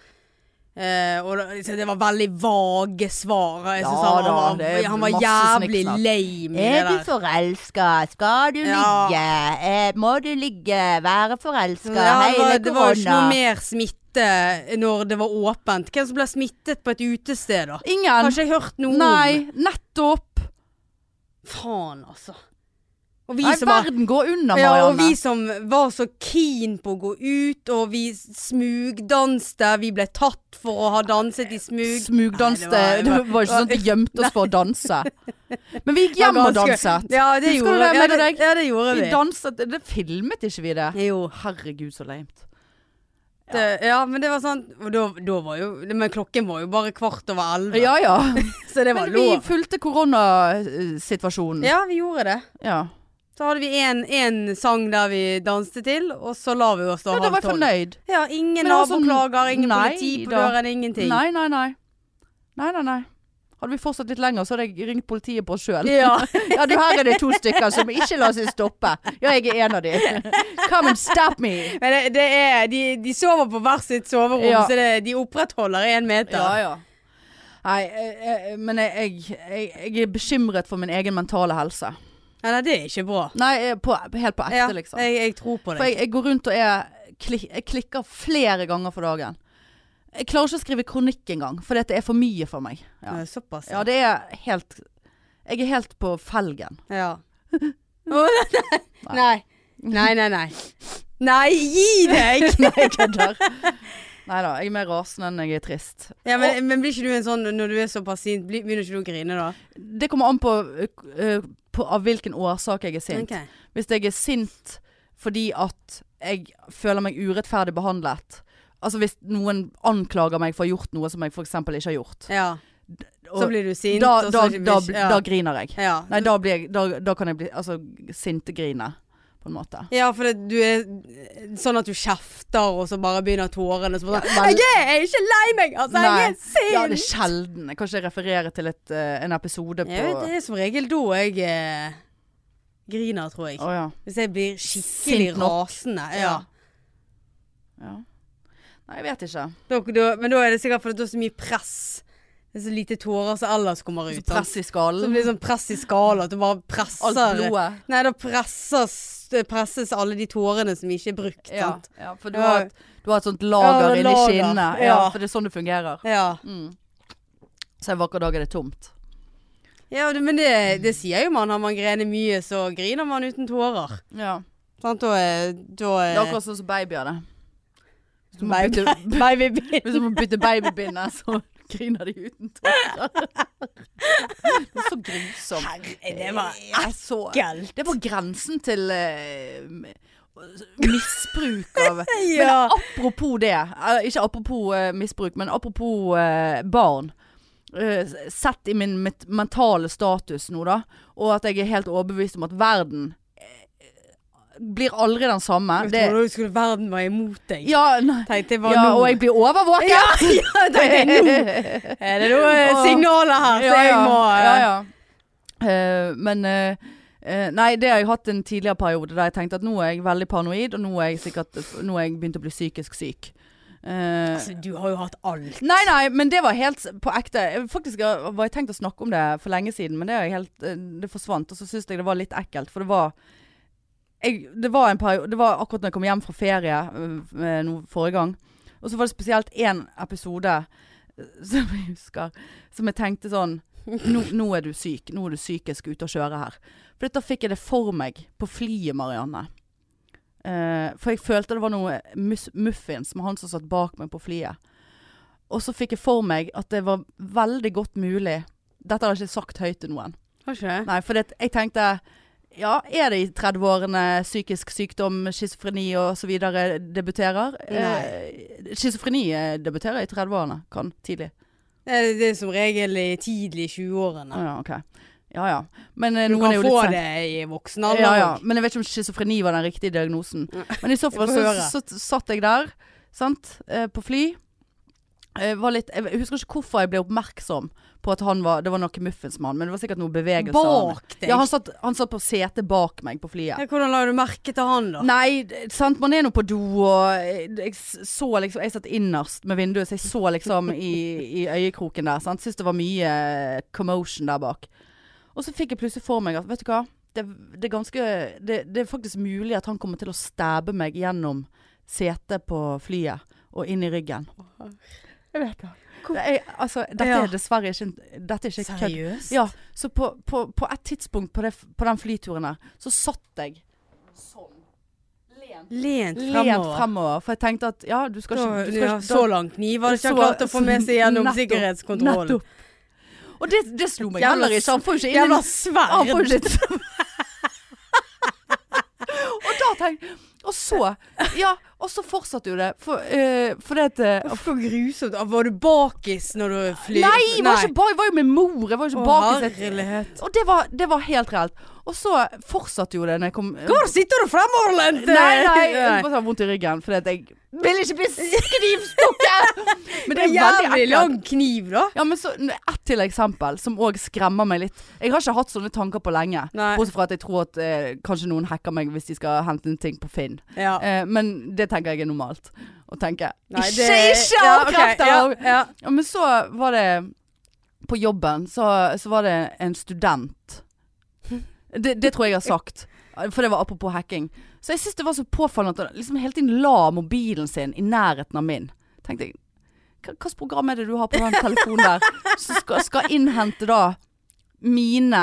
[SPEAKER 1] Eh, og da- så det var veldig vage svar. og Jeg synes
[SPEAKER 2] Ja
[SPEAKER 1] han,
[SPEAKER 2] da,
[SPEAKER 1] var-
[SPEAKER 2] det er
[SPEAKER 1] han var
[SPEAKER 2] masse
[SPEAKER 1] jævlig
[SPEAKER 2] snikksnakk.
[SPEAKER 1] lame i det
[SPEAKER 3] Er du
[SPEAKER 1] der.
[SPEAKER 3] forelska? Skal du
[SPEAKER 1] Ja.
[SPEAKER 3] ligge? Eh, må du ligge? Være forelska?
[SPEAKER 1] Ja, det var-
[SPEAKER 3] Hele
[SPEAKER 1] det var jo ikke noe
[SPEAKER 3] korona.
[SPEAKER 1] mer smitte når det var åpent. Hvem som ble smittet på et utested, da? Har
[SPEAKER 2] Ingen.
[SPEAKER 1] ikke jeg hørt noe om.
[SPEAKER 2] Nei, nettopp.
[SPEAKER 1] Faen, altså. Og vi
[SPEAKER 2] Nei,
[SPEAKER 1] som var
[SPEAKER 2] verden går under,
[SPEAKER 1] Ja, og
[SPEAKER 2] Marianne.
[SPEAKER 1] vi som var så keen på å gå ut, og vi smugdanste. Vi ble tatt for å ha danset i smug.
[SPEAKER 2] Smugdanste.
[SPEAKER 1] Nei, det var- det
[SPEAKER 2] Det
[SPEAKER 1] var-
[SPEAKER 2] var ikke sånn at vi gjemte oss for å danse. Men vi gikk hjem og
[SPEAKER 1] Det var ganske-
[SPEAKER 2] danset.
[SPEAKER 1] Ja, det
[SPEAKER 2] Husker
[SPEAKER 1] gjorde
[SPEAKER 2] du det,
[SPEAKER 1] vi.
[SPEAKER 2] meg
[SPEAKER 1] Ja,
[SPEAKER 2] og
[SPEAKER 1] det,
[SPEAKER 2] deg?
[SPEAKER 1] ja, det gjorde
[SPEAKER 2] Vi
[SPEAKER 1] vi.
[SPEAKER 2] danset. Det filmet ikke vi det?
[SPEAKER 1] Jo.
[SPEAKER 2] Herregud, så lamet.
[SPEAKER 1] Det, ja, men det var sånn Og da, da var jo Men klokken var jo bare kvart over elleve.
[SPEAKER 2] Ja ja.
[SPEAKER 1] *laughs* så det var
[SPEAKER 2] Men vi
[SPEAKER 1] lov.
[SPEAKER 2] fulgte koronasituasjonen.
[SPEAKER 1] Ja, vi gjorde det.
[SPEAKER 2] Ja.
[SPEAKER 1] Så hadde vi én sang der vi danset til, og så la vi oss da
[SPEAKER 2] Ja, Da var jeg fornøyd.
[SPEAKER 1] Ja, ingen
[SPEAKER 2] Men altså,
[SPEAKER 1] naboklager, ingen
[SPEAKER 2] nei
[SPEAKER 1] politi på
[SPEAKER 2] da.
[SPEAKER 1] døren, ingenting.
[SPEAKER 2] Nei, nei, nei. Nei, nei, nei. Hadde vi fortsatt litt lenger, så hadde jeg ringt politiet på oss sjøl. *laughs*
[SPEAKER 1] Ja.
[SPEAKER 2] Ja, du, her er det to stykker som ikke lar seg stoppe. Ja, jeg er en av de. Come and stop me.
[SPEAKER 1] Men det, det er, de, de sover på hvert sitt soverom,
[SPEAKER 2] Ja.
[SPEAKER 1] så det, de opprettholder én meter.
[SPEAKER 2] ja. Nei, eh, eh, men jeg, jeg, jeg er bekymret for min egen mentale helse.
[SPEAKER 1] Nei, nei, det er ikke bra.
[SPEAKER 2] Nei, eh, på, helt på ekte,
[SPEAKER 1] Ja,
[SPEAKER 2] liksom.
[SPEAKER 1] jeg, jeg tror på
[SPEAKER 2] For
[SPEAKER 1] deg.
[SPEAKER 2] jeg, jeg går rundt og er kli- jeg klikker flere ganger for dagen. Jeg klarer ikke å skrive kronikk engang, for det er for mye for meg. Ja,
[SPEAKER 1] Eh, Såpass.
[SPEAKER 2] ja det er helt Jeg er helt på felgen. *laughs*
[SPEAKER 1] Ja. nei. nei. Nei, nei, nei. gi deg!
[SPEAKER 2] *laughs* Nei, jeg kødder. Nei da, jeg er mer rasende enn jeg er trist.
[SPEAKER 1] Ja,
[SPEAKER 2] *laughs*
[SPEAKER 1] men, men blir ikke du en sånn når du er såpass sint, blir- begynner ikke du å grine da?
[SPEAKER 2] Det kommer an på, eh, på av hvilken årsak jeg er sint.
[SPEAKER 1] Ok.
[SPEAKER 2] Hvis jeg er sint fordi at jeg føler meg urettferdig behandlet. Altså hvis noen anklager meg for å ha gjort noe som jeg f.eks. ikke har gjort.
[SPEAKER 1] Ja.
[SPEAKER 2] Og
[SPEAKER 1] Så blir du sint,
[SPEAKER 2] da,
[SPEAKER 1] og
[SPEAKER 2] da,
[SPEAKER 1] så
[SPEAKER 2] da, bl-
[SPEAKER 1] ja.
[SPEAKER 2] da griner jeg.
[SPEAKER 1] ja.
[SPEAKER 2] Nei, da, blir jeg, da, da kan jeg bli altså, sintegrine, på en måte.
[SPEAKER 1] ja, for det, du er sånn at du kjefter, og så bare begynner tårene. og Så bare, sånn,
[SPEAKER 2] Ja, vel-
[SPEAKER 1] jeg er ikke lei meg! Altså, jeg
[SPEAKER 2] Nei.
[SPEAKER 1] er sint!
[SPEAKER 2] Ja, det er sjelden. Jeg kan ikke referere til et, eh, en episode på
[SPEAKER 1] Jeg vet, det er som regel da jeg eh, griner, tror jeg.
[SPEAKER 2] Å ja.
[SPEAKER 1] Hvis jeg blir skikkelig
[SPEAKER 2] Sint nok.
[SPEAKER 1] rasende. Ja.
[SPEAKER 2] Ja. ja. Nei, jeg vet ikke.
[SPEAKER 1] Da, da, men da er det sikkert fordi det er så mye press. Det er så lite tårer som ellers kommer ut.
[SPEAKER 2] Så
[SPEAKER 1] sant?
[SPEAKER 2] press i
[SPEAKER 1] Så det
[SPEAKER 2] skallen.
[SPEAKER 1] blir sånn press i skala, at du bare presser
[SPEAKER 2] Alt blodet.
[SPEAKER 1] Nei, da presses, det presses alle de tårene som ikke er brukt,
[SPEAKER 2] Ja,
[SPEAKER 1] sant.
[SPEAKER 2] ja, for du
[SPEAKER 1] Ja.
[SPEAKER 2] har, et, du har et sånt lager
[SPEAKER 1] Ja,
[SPEAKER 2] inni
[SPEAKER 1] lager.
[SPEAKER 2] skinnet. Ja,
[SPEAKER 1] Ja.
[SPEAKER 2] for det er sånn det fungerer.
[SPEAKER 1] Ja.
[SPEAKER 2] Mm. Så en vakker dag er det tomt.
[SPEAKER 1] ja det- men det, det sier jo man. Har man grener mye, så griner man uten tårer.
[SPEAKER 2] Ja.
[SPEAKER 1] Sant, da er da
[SPEAKER 2] Det
[SPEAKER 1] er
[SPEAKER 2] er akkurat sånn som babyer, det. Hvis du må
[SPEAKER 1] Baby- *laughs*
[SPEAKER 2] bytte,
[SPEAKER 1] babybind.
[SPEAKER 2] hvis du må bytte babybindet, så griner de
[SPEAKER 1] *laughs*
[SPEAKER 2] uten tårer. Det er så grusomt.
[SPEAKER 1] Herre, det var
[SPEAKER 2] Jeg så-
[SPEAKER 1] ekkelt.
[SPEAKER 2] Det er på grensen til eh,
[SPEAKER 1] *laughs*
[SPEAKER 2] misbruk av
[SPEAKER 1] Ja.
[SPEAKER 2] Men apropos det, eh, ikke apropos eh, misbruk, men apropos eh, barn. Eh, s- sett i min met- mentale status nå, da, og at jeg er helt overbevist om at verden eh, blir aldri den samme.
[SPEAKER 1] Jeg
[SPEAKER 2] Det,
[SPEAKER 1] trodde du skulle verden var imot deg.
[SPEAKER 2] ja, nei,
[SPEAKER 1] Tenkte jeg var
[SPEAKER 2] ja,
[SPEAKER 1] nå.
[SPEAKER 2] og jeg blir
[SPEAKER 1] *laughs*
[SPEAKER 2] overvåket!
[SPEAKER 1] ja, ja, tenkte jeg nå
[SPEAKER 2] *laughs*
[SPEAKER 1] er det noe eh,
[SPEAKER 2] Åh.
[SPEAKER 1] signaler her, så
[SPEAKER 2] Ja,
[SPEAKER 1] jeg
[SPEAKER 2] ja.
[SPEAKER 1] må eh,
[SPEAKER 2] ja, ja. Eh, Men eh, eh, Nei, det har jeg hatt en tidligere periode der jeg tenkte at nå er jeg veldig paranoid, og nå er jeg sikkert Nå er jeg begynt å bli psykisk syk. Eh,
[SPEAKER 1] Altså, du har jo hatt alt.
[SPEAKER 2] Nei, nei, men det var helt s- på ekte. Jeg- Faktisk eh, var jeg tenkt å snakke om det for lenge siden, men det, er jeg helt, eh, det forsvant. Og så syns jeg det var litt ekkelt, for det var jeg, det, var en periode, det var akkurat når jeg kom hjem fra ferie eh, eh, nå forrige gang. Og så var det spesielt én episode eh, *laughs* som jeg husker, som jeg tenkte sånn nå, nå er du syk. Nå er du psykisk ute å kjøre her. For da fikk jeg det for meg på flyet, Marianne. Eh, for jeg følte det var noe mus, muffins med han som satt bak meg på flyet. Og så fikk jeg for meg at det var veldig godt mulig Dette har jeg ikke sagt høyt til noen.
[SPEAKER 1] Har ikke det?
[SPEAKER 2] Nei, for det, jeg tenkte Ja, er det i 30-årene psykisk sykdom, schizofreni osv. debuterer? Eh, schizofreni eh, debuterer i 30-årene. Kan tidlig.
[SPEAKER 1] Det er, det er som regel i tidlig i 20-årene.
[SPEAKER 2] Å ja, OK. Ja ja. Men eh,
[SPEAKER 1] Du
[SPEAKER 2] noen
[SPEAKER 1] kan
[SPEAKER 2] er jo
[SPEAKER 1] få
[SPEAKER 2] litt sen-
[SPEAKER 1] det i voksen alder.
[SPEAKER 2] Ja, ja.
[SPEAKER 1] også.
[SPEAKER 2] Men jeg vet ikke om schizofreni var den riktige diagnosen. Men i så fall
[SPEAKER 1] Vi
[SPEAKER 2] så,
[SPEAKER 1] får
[SPEAKER 2] så, så satt jeg der, sant, eh, på fly. Eh, var litt, jeg husker ikke hvorfor jeg ble oppmerksom på at han var Det var noe muffins med han, men det var sikkert noe bevegelse.
[SPEAKER 1] Bak deg?
[SPEAKER 2] Ja, han satt, han satt på setet bak meg på flyet.
[SPEAKER 1] Ja, hvordan la du merke til han, da?
[SPEAKER 2] Nei, d- sant, man er nå på do, og jeg jeg så liksom Jeg satt innerst med vinduet, så jeg så liksom i, i øyekroken der. Sant? Syns det var mye eh, commotion der bak. Og så fikk jeg plutselig for meg at, vet du hva Det, det er ganske det, det er faktisk mulig at han kommer til å stabbe meg gjennom setet på flyet og inn i ryggen. Jeg vet det. Jeg, altså, dette
[SPEAKER 1] Ja.
[SPEAKER 2] er dessverre ikke en- Dette er ikke kødd.
[SPEAKER 1] Seriøst?
[SPEAKER 2] Ja, så på, på, på et tidspunkt på, det, på den flyturen der, så satt jeg sånn. Lent,
[SPEAKER 1] Lent
[SPEAKER 2] lent
[SPEAKER 1] fremover.
[SPEAKER 2] fremover. For jeg tenkte at ja, du skal ikke,
[SPEAKER 1] Da,
[SPEAKER 2] du skal
[SPEAKER 1] ja,
[SPEAKER 2] ikke
[SPEAKER 1] så langt kniv hadde ikke han
[SPEAKER 2] så-
[SPEAKER 1] klart å få med seg gjennom
[SPEAKER 2] nettopp,
[SPEAKER 1] sikkerhetskontrollen.
[SPEAKER 2] Nettopp. Og det, det slo meg
[SPEAKER 1] Jævla
[SPEAKER 2] heller ikke. Han får jo ikke inn
[SPEAKER 1] *laughs* Jævla
[SPEAKER 2] en- Han får
[SPEAKER 1] sverd!
[SPEAKER 2] jo ikke *laughs* Og da tenkte Og så Ja, og så fortsatte jo det. For, eh, for det at eh,
[SPEAKER 1] Uff, så grusomt. Ah, Var du bakis når du flyr?
[SPEAKER 2] Nei, jeg var, ikke, ba- jeg var jo med mor. Jeg var
[SPEAKER 1] Å,
[SPEAKER 2] jo ikke bak i setet.
[SPEAKER 1] herlighet.
[SPEAKER 2] Og det var, det var helt reelt. Og så fortsatte jo det når jeg kom
[SPEAKER 1] Hvor sitter du fremoverlent?
[SPEAKER 2] Nei,
[SPEAKER 1] *laughs* eh.
[SPEAKER 2] nei, jeg bare har vondt i ryggen fordi at jeg vil ikke bli knivstukket. Men det er veldig
[SPEAKER 1] Jævlig
[SPEAKER 2] ekkelt.
[SPEAKER 1] lang kniv, da.
[SPEAKER 2] Ja, men så Ett til eksempel som òg skremmer meg litt. Jeg har ikke hatt sånne tanker på lenge.
[SPEAKER 1] Nei.
[SPEAKER 2] Bortsett fra at jeg tror at eh, kanskje noen hacker meg hvis de skal hente en ting på Finn.
[SPEAKER 1] Ja.
[SPEAKER 2] Eh, men det tenker jeg er normalt. Å tenke
[SPEAKER 1] Nei,
[SPEAKER 2] Ikke,
[SPEAKER 1] det-
[SPEAKER 2] ikke
[SPEAKER 1] ja, ok,
[SPEAKER 2] avkrefter!
[SPEAKER 1] ja, ja.
[SPEAKER 2] Ja, men så var det På jobben så, så var det en student. Det, det tror jeg jeg har sagt. For det var apropos hacking. Så jeg syns det var så påfallende at han liksom hele tiden la mobilen sin i nærheten av min. Tenkte jeg "Hva- Hvilket program er det du har på den telefonen der som skal, skal innhente da mine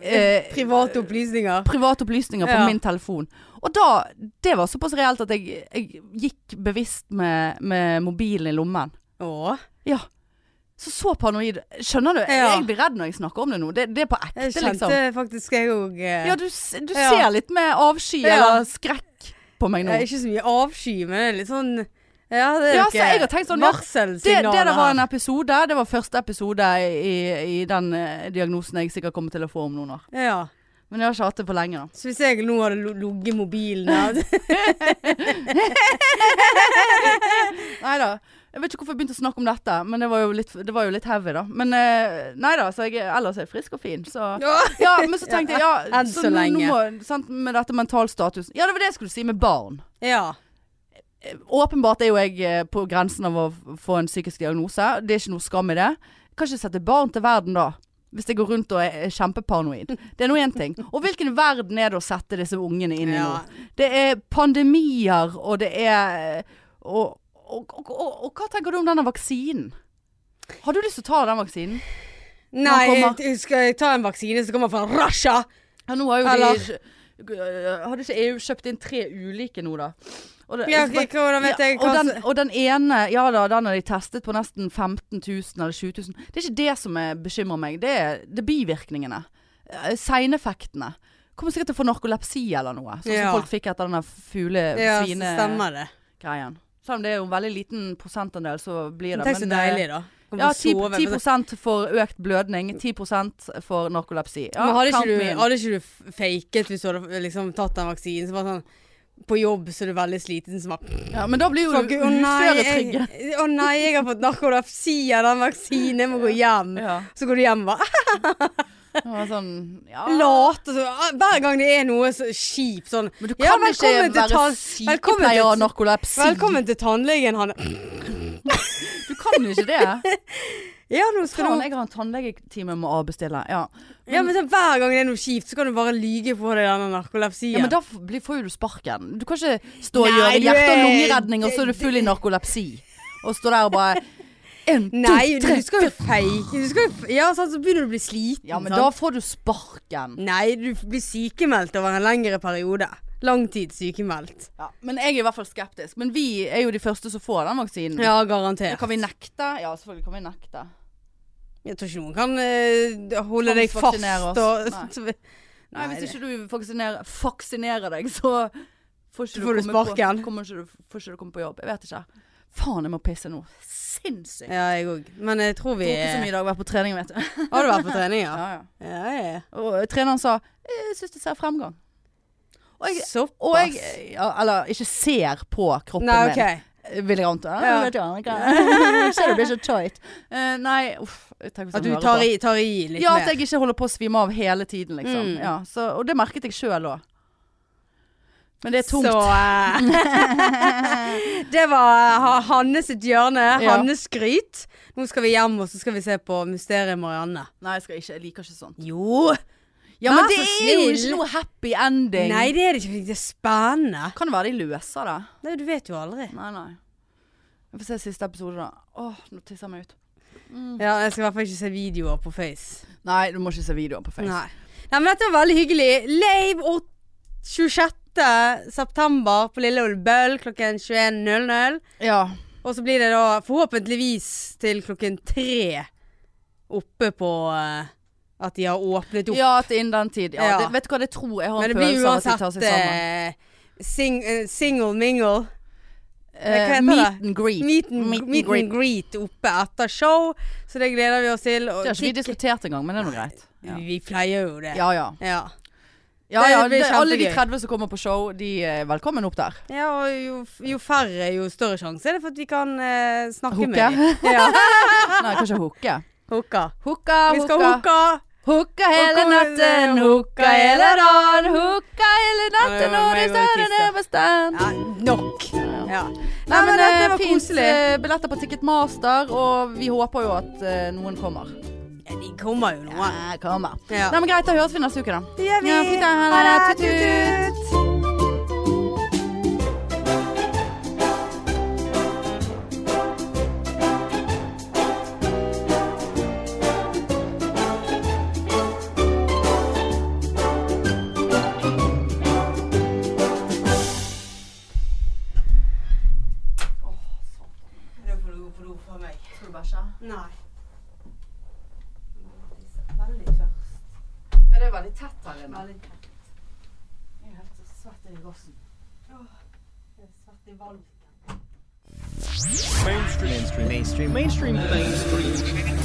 [SPEAKER 2] eh,
[SPEAKER 1] Private opplysninger.
[SPEAKER 2] private opplysninger på
[SPEAKER 1] Ja.
[SPEAKER 2] min telefon. Og da Det var såpass reelt at jeg, jeg gikk bevisst med, med mobilen i lommen.
[SPEAKER 1] Å,
[SPEAKER 2] Ja. Så så paranoid. Skjønner du? Jeg-
[SPEAKER 1] Ja.
[SPEAKER 2] Jeg blir redd når jeg snakker om det nå. Det, det er på ekte,
[SPEAKER 1] jeg kjente
[SPEAKER 2] liksom.
[SPEAKER 1] faktisk jeg òg eh,
[SPEAKER 2] Ja, du, s- du
[SPEAKER 1] Ja.
[SPEAKER 2] ser litt med avsky
[SPEAKER 1] Ja.
[SPEAKER 2] eller skrekk på meg nå.
[SPEAKER 1] eh, Ikke så mye avsky, men det er litt sånn Ja, det er
[SPEAKER 2] Ja,
[SPEAKER 1] jo
[SPEAKER 2] så jeg har tenkt sånn, ja, Det, det
[SPEAKER 1] varselsignaler
[SPEAKER 2] der var en
[SPEAKER 1] her.
[SPEAKER 2] episode. Det var første episode i, i den eh, diagnosen jeg sikkert kommer til å få om noen år.
[SPEAKER 1] Ja.
[SPEAKER 2] Men jeg har ikke hatt det på lenge, da.
[SPEAKER 1] Så hvis jeg nå hadde lo- ligget
[SPEAKER 2] *laughs*
[SPEAKER 1] mobilen der
[SPEAKER 2] Nei da. Jeg vet ikke hvorfor jeg begynte å snakke om dette, men det var jo litt, det var jo litt heavy, da. Men eh, nei da, så jeg, ellers er jeg frisk og fin, så Ja, men så tenkte jeg ja,
[SPEAKER 1] *laughs* Enn så
[SPEAKER 2] nå-
[SPEAKER 1] lenge.
[SPEAKER 2] Nå må, sant, med dette mentalstatusen Ja, det var det jeg skulle si med barn.
[SPEAKER 1] Ja.
[SPEAKER 2] Eh, Åpenbart er jo jeg eh, på grensen av å f- få en psykisk diagnose. Det er ikke noe skam i det. Jeg kan ikke sette barn til verden da. Hvis jeg går rundt og er er kjempeparanoid. Det er nå én ting. Og hvilken verden er det å sette disse ungene inn i
[SPEAKER 1] Ja.
[SPEAKER 2] nå? Det er pandemier, og det er eh, og, og, og, og, og hva tenker du om denne vaksinen? Har du lyst til å ta den vaksinen?
[SPEAKER 1] Nei,
[SPEAKER 2] kommer-
[SPEAKER 1] jeg- skal jeg ta en vaksine som kommer fra Russia?
[SPEAKER 2] Ja, nå har jo
[SPEAKER 1] Eller-
[SPEAKER 2] eh, de Hadde ikke EU kjøpt inn tre ulike nå, da? Og det-
[SPEAKER 1] Ja,
[SPEAKER 2] så bare-
[SPEAKER 1] ok, hvordan vet jeg
[SPEAKER 2] ja,
[SPEAKER 1] hva
[SPEAKER 2] og,
[SPEAKER 1] som-
[SPEAKER 2] den, og den ene, ja da, den har de testet på nesten 15 000 eller 20 000. Det er ikke det som er- bekymrer meg, det er, det er bivirkningene. Eh, Seineffektene. Kommer sikkert til å få narkolepsi eller noe, sånn
[SPEAKER 1] Ja.
[SPEAKER 2] som folk fikk etter denne fule,
[SPEAKER 1] Ja, så
[SPEAKER 2] fine
[SPEAKER 1] stemmer det.
[SPEAKER 2] greien. Selv om det er jo en veldig liten prosentandel, så blir det.
[SPEAKER 1] Tenk så
[SPEAKER 2] men, eh,
[SPEAKER 1] deilig, da. Kan
[SPEAKER 2] Ja,
[SPEAKER 1] få
[SPEAKER 2] 10,
[SPEAKER 1] sove.
[SPEAKER 2] 10 for økt blødning, 10 for narkolepsi. Ja,
[SPEAKER 1] Men hadde
[SPEAKER 2] count
[SPEAKER 1] ikke,
[SPEAKER 2] me in.
[SPEAKER 1] du, hadde ikke du f- faket hvis du hadde liksom tatt den vaksinen? Så var det sånn På jobb så er du veldig sliten, så bare
[SPEAKER 2] Ja, men da blir jo du
[SPEAKER 1] Å nei,
[SPEAKER 2] uføretrygget.
[SPEAKER 1] jeg, å nei, jeg har fått narkolepsi av den vaksinen, jeg må gå hjem.
[SPEAKER 2] Ja.
[SPEAKER 1] Så går du hjem og bare ah,
[SPEAKER 2] Ja, sånn, ja.
[SPEAKER 1] lat. Og så, ah, hver gang det er noe så kjipt sånn
[SPEAKER 2] Men du kan
[SPEAKER 1] Ja,
[SPEAKER 2] ikke
[SPEAKER 1] velkommen til
[SPEAKER 2] være
[SPEAKER 1] tal- velkommen
[SPEAKER 2] sykepleier
[SPEAKER 1] til-
[SPEAKER 2] og narkolepsi.
[SPEAKER 1] Velkommen til tannlegen, han
[SPEAKER 2] Du kan jo ikke *laughs* det.
[SPEAKER 1] Ja, nå skal
[SPEAKER 2] Faen,
[SPEAKER 1] du
[SPEAKER 2] jeg har en tannlegetime jeg må avbestille. Ja.
[SPEAKER 1] Ja, men sånn, Hver gang det er noe kjipt, så kan du bare lyge på deg den narkolepsien.
[SPEAKER 2] ja, men da f- blir- får jo du sparken. Du kan ikke stå og
[SPEAKER 1] Nei,
[SPEAKER 2] gjøre
[SPEAKER 1] du
[SPEAKER 2] hjerte- og
[SPEAKER 1] er-
[SPEAKER 2] lungeredning, og så er du full i narkolepsi. Og stå der og bare En,
[SPEAKER 1] Nei,
[SPEAKER 2] to,
[SPEAKER 1] du
[SPEAKER 2] tre.
[SPEAKER 1] skal jo fake. Du skal jo, f- ja, sant, så begynner du å bli sliten.
[SPEAKER 2] Ja, men
[SPEAKER 1] sant?
[SPEAKER 2] da får du sparken.
[SPEAKER 1] Nei, du blir sykemeldt over en lengre periode. Langtid sykemeldt.
[SPEAKER 2] Ja, men jeg er i hvert fall skeptisk. Men vi er jo de første som får den vaksinen.
[SPEAKER 1] Ja, garantert.
[SPEAKER 2] Kan vi nekte? Ja, selvfølgelig kan vi nekte.
[SPEAKER 1] Jeg tror ikke noen kan eh, holde deg fast
[SPEAKER 2] Tvangsvaksinere
[SPEAKER 1] og
[SPEAKER 2] oss.
[SPEAKER 1] *laughs* Nei,
[SPEAKER 2] Nei, hvis
[SPEAKER 1] det-
[SPEAKER 2] ikke du vaksinerer, vaksinerer deg, så får ikke
[SPEAKER 1] Får du
[SPEAKER 2] komme
[SPEAKER 1] sparken.
[SPEAKER 2] På, kommer ikke du, får ikke du komme på jobb. Jeg vet ikke. Faen, jeg må pisse nå. Sinnssykt. Jeg
[SPEAKER 1] Ja, jeg òg. Men jeg tror vi
[SPEAKER 2] har Drukket så mye i dag, vært på trening, vet du.
[SPEAKER 1] Har du vært på trening, ja?
[SPEAKER 2] *laughs* Ja, ja.
[SPEAKER 1] Ja, ja. ja.
[SPEAKER 2] Og eh, treneren sa jeg syns du ser fremgang. Og jeg,
[SPEAKER 1] Såpass.
[SPEAKER 2] og jeg eh, ja, Eller ikke ser på kroppen
[SPEAKER 1] Nei, OK.
[SPEAKER 2] min, vil jeg anta.
[SPEAKER 1] Ja.
[SPEAKER 2] Jeg vet jo, jeg *laughs* kan- Ser du blir så tight. Eh, nei, uff. Tenk hvis
[SPEAKER 1] At
[SPEAKER 2] han
[SPEAKER 1] du
[SPEAKER 2] hører
[SPEAKER 1] tar
[SPEAKER 2] på.
[SPEAKER 1] i, tar i litt
[SPEAKER 2] Ja, at
[SPEAKER 1] mer.
[SPEAKER 2] jeg ikke holder på å svime av hele tiden, liksom.
[SPEAKER 1] Mm.
[SPEAKER 2] Ja, så, og det merket jeg sjøl òg. Men det er tungt.
[SPEAKER 1] Så eh, *laughs* Det var ha- Hanne sitt hjørne.
[SPEAKER 2] Ja.
[SPEAKER 1] Hannes skryt. Nå skal vi hjem, og så skal vi se på Mysteriet Marianne.
[SPEAKER 2] Nei, jeg, skal ikke, jeg liker ikke sånn.
[SPEAKER 1] Jo!
[SPEAKER 2] Ja, men
[SPEAKER 1] Vær
[SPEAKER 2] det
[SPEAKER 1] så
[SPEAKER 2] er jo
[SPEAKER 1] snill.
[SPEAKER 2] ikke noe happy ending.
[SPEAKER 1] Nei, det er det ikke. Det er spennende.
[SPEAKER 2] Kan det være de løser det?
[SPEAKER 1] Nei, du vet jo aldri.
[SPEAKER 2] Nei, nei. Vi får se siste episode, da. Åh, nå tisser jeg meg ut.
[SPEAKER 1] Mm. Ja, jeg skal i hvert fall ikke se videoer på Face.
[SPEAKER 2] Nei, du må ikke se videoen på Face.
[SPEAKER 1] Nei. Nei, men dette var veldig hyggelig. Lave og 26. september på Lille Ole Bøll klokken 21.00.
[SPEAKER 2] Ja.
[SPEAKER 1] Og så blir det da forhåpentligvis til klokken tre oppe på eh, at de har åpnet opp.
[SPEAKER 2] ja, til innen den tid. Ja,
[SPEAKER 1] Ja.
[SPEAKER 2] Det, vet du hva, det tror jeg har
[SPEAKER 1] men
[SPEAKER 2] en
[SPEAKER 1] det blir
[SPEAKER 2] Sånn følelse av at de tar
[SPEAKER 1] uansett
[SPEAKER 2] seg sammen.
[SPEAKER 1] eh, sing, eh, single mingle. hva
[SPEAKER 2] Eh,
[SPEAKER 1] heter
[SPEAKER 2] meet
[SPEAKER 1] det?
[SPEAKER 2] and greet.
[SPEAKER 1] Meet and,
[SPEAKER 2] Meet and
[SPEAKER 1] meet and greet oppe etter show, så det gleder vi oss til. Og
[SPEAKER 2] Det har ikke vi
[SPEAKER 1] tikk-
[SPEAKER 2] diskutert engang, men det er nå greit. Ja.
[SPEAKER 1] Vi pleier jo det.
[SPEAKER 2] Ja ja.
[SPEAKER 1] ja.
[SPEAKER 2] ja,
[SPEAKER 1] Det
[SPEAKER 2] ja
[SPEAKER 1] blir
[SPEAKER 2] det, alle de
[SPEAKER 1] kjempegøy.
[SPEAKER 2] 30 som kommer på show, de er velkommen opp
[SPEAKER 1] *laughs*
[SPEAKER 2] der.
[SPEAKER 1] Ja, og jo, jo færre, jo større sjanse er det for at vi kan eh, snakke
[SPEAKER 2] Hooke.
[SPEAKER 1] med dem.
[SPEAKER 2] *laughs*
[SPEAKER 1] Ja.
[SPEAKER 2] Nei, kanskje hooke.
[SPEAKER 1] Hooka.
[SPEAKER 2] Hooka,
[SPEAKER 1] Vi skal hooka.
[SPEAKER 2] Hooka hele
[SPEAKER 1] Hooka-
[SPEAKER 2] natten, hooka hele dagen, hooka hele
[SPEAKER 1] Ja, det
[SPEAKER 2] natten
[SPEAKER 1] var
[SPEAKER 2] og
[SPEAKER 1] meg
[SPEAKER 2] det
[SPEAKER 1] og
[SPEAKER 2] større
[SPEAKER 1] Tissa.
[SPEAKER 2] nebestand.
[SPEAKER 1] Ja, nok. Ja.
[SPEAKER 2] Nei, men eh,
[SPEAKER 1] dette
[SPEAKER 2] det
[SPEAKER 1] var
[SPEAKER 2] fins
[SPEAKER 1] koselig.
[SPEAKER 2] billetter på Ticketmaster, og vi håper jo at eh, noen kommer.
[SPEAKER 1] Ja, de kommer jo nå.
[SPEAKER 2] Ja, kommer.
[SPEAKER 1] Ja.
[SPEAKER 2] Nei, men greit, da høres vi neste uke, da.
[SPEAKER 1] Det gjør vi.
[SPEAKER 2] Ja, fint, da. Ha det. Tut, tut.
[SPEAKER 1] tut. Da får du gå på do for meg.
[SPEAKER 2] Skal du bæsje?
[SPEAKER 1] Nei. Veldig tørst.
[SPEAKER 2] Ja, det er veldig tett her inne.
[SPEAKER 1] Veldig tørst.
[SPEAKER 2] Jeg er helt svett i gassen.
[SPEAKER 1] Jeg er svett i valg.
[SPEAKER 4] Mainstream. Mainstream. Mainstream. Mainstream. Mainstream.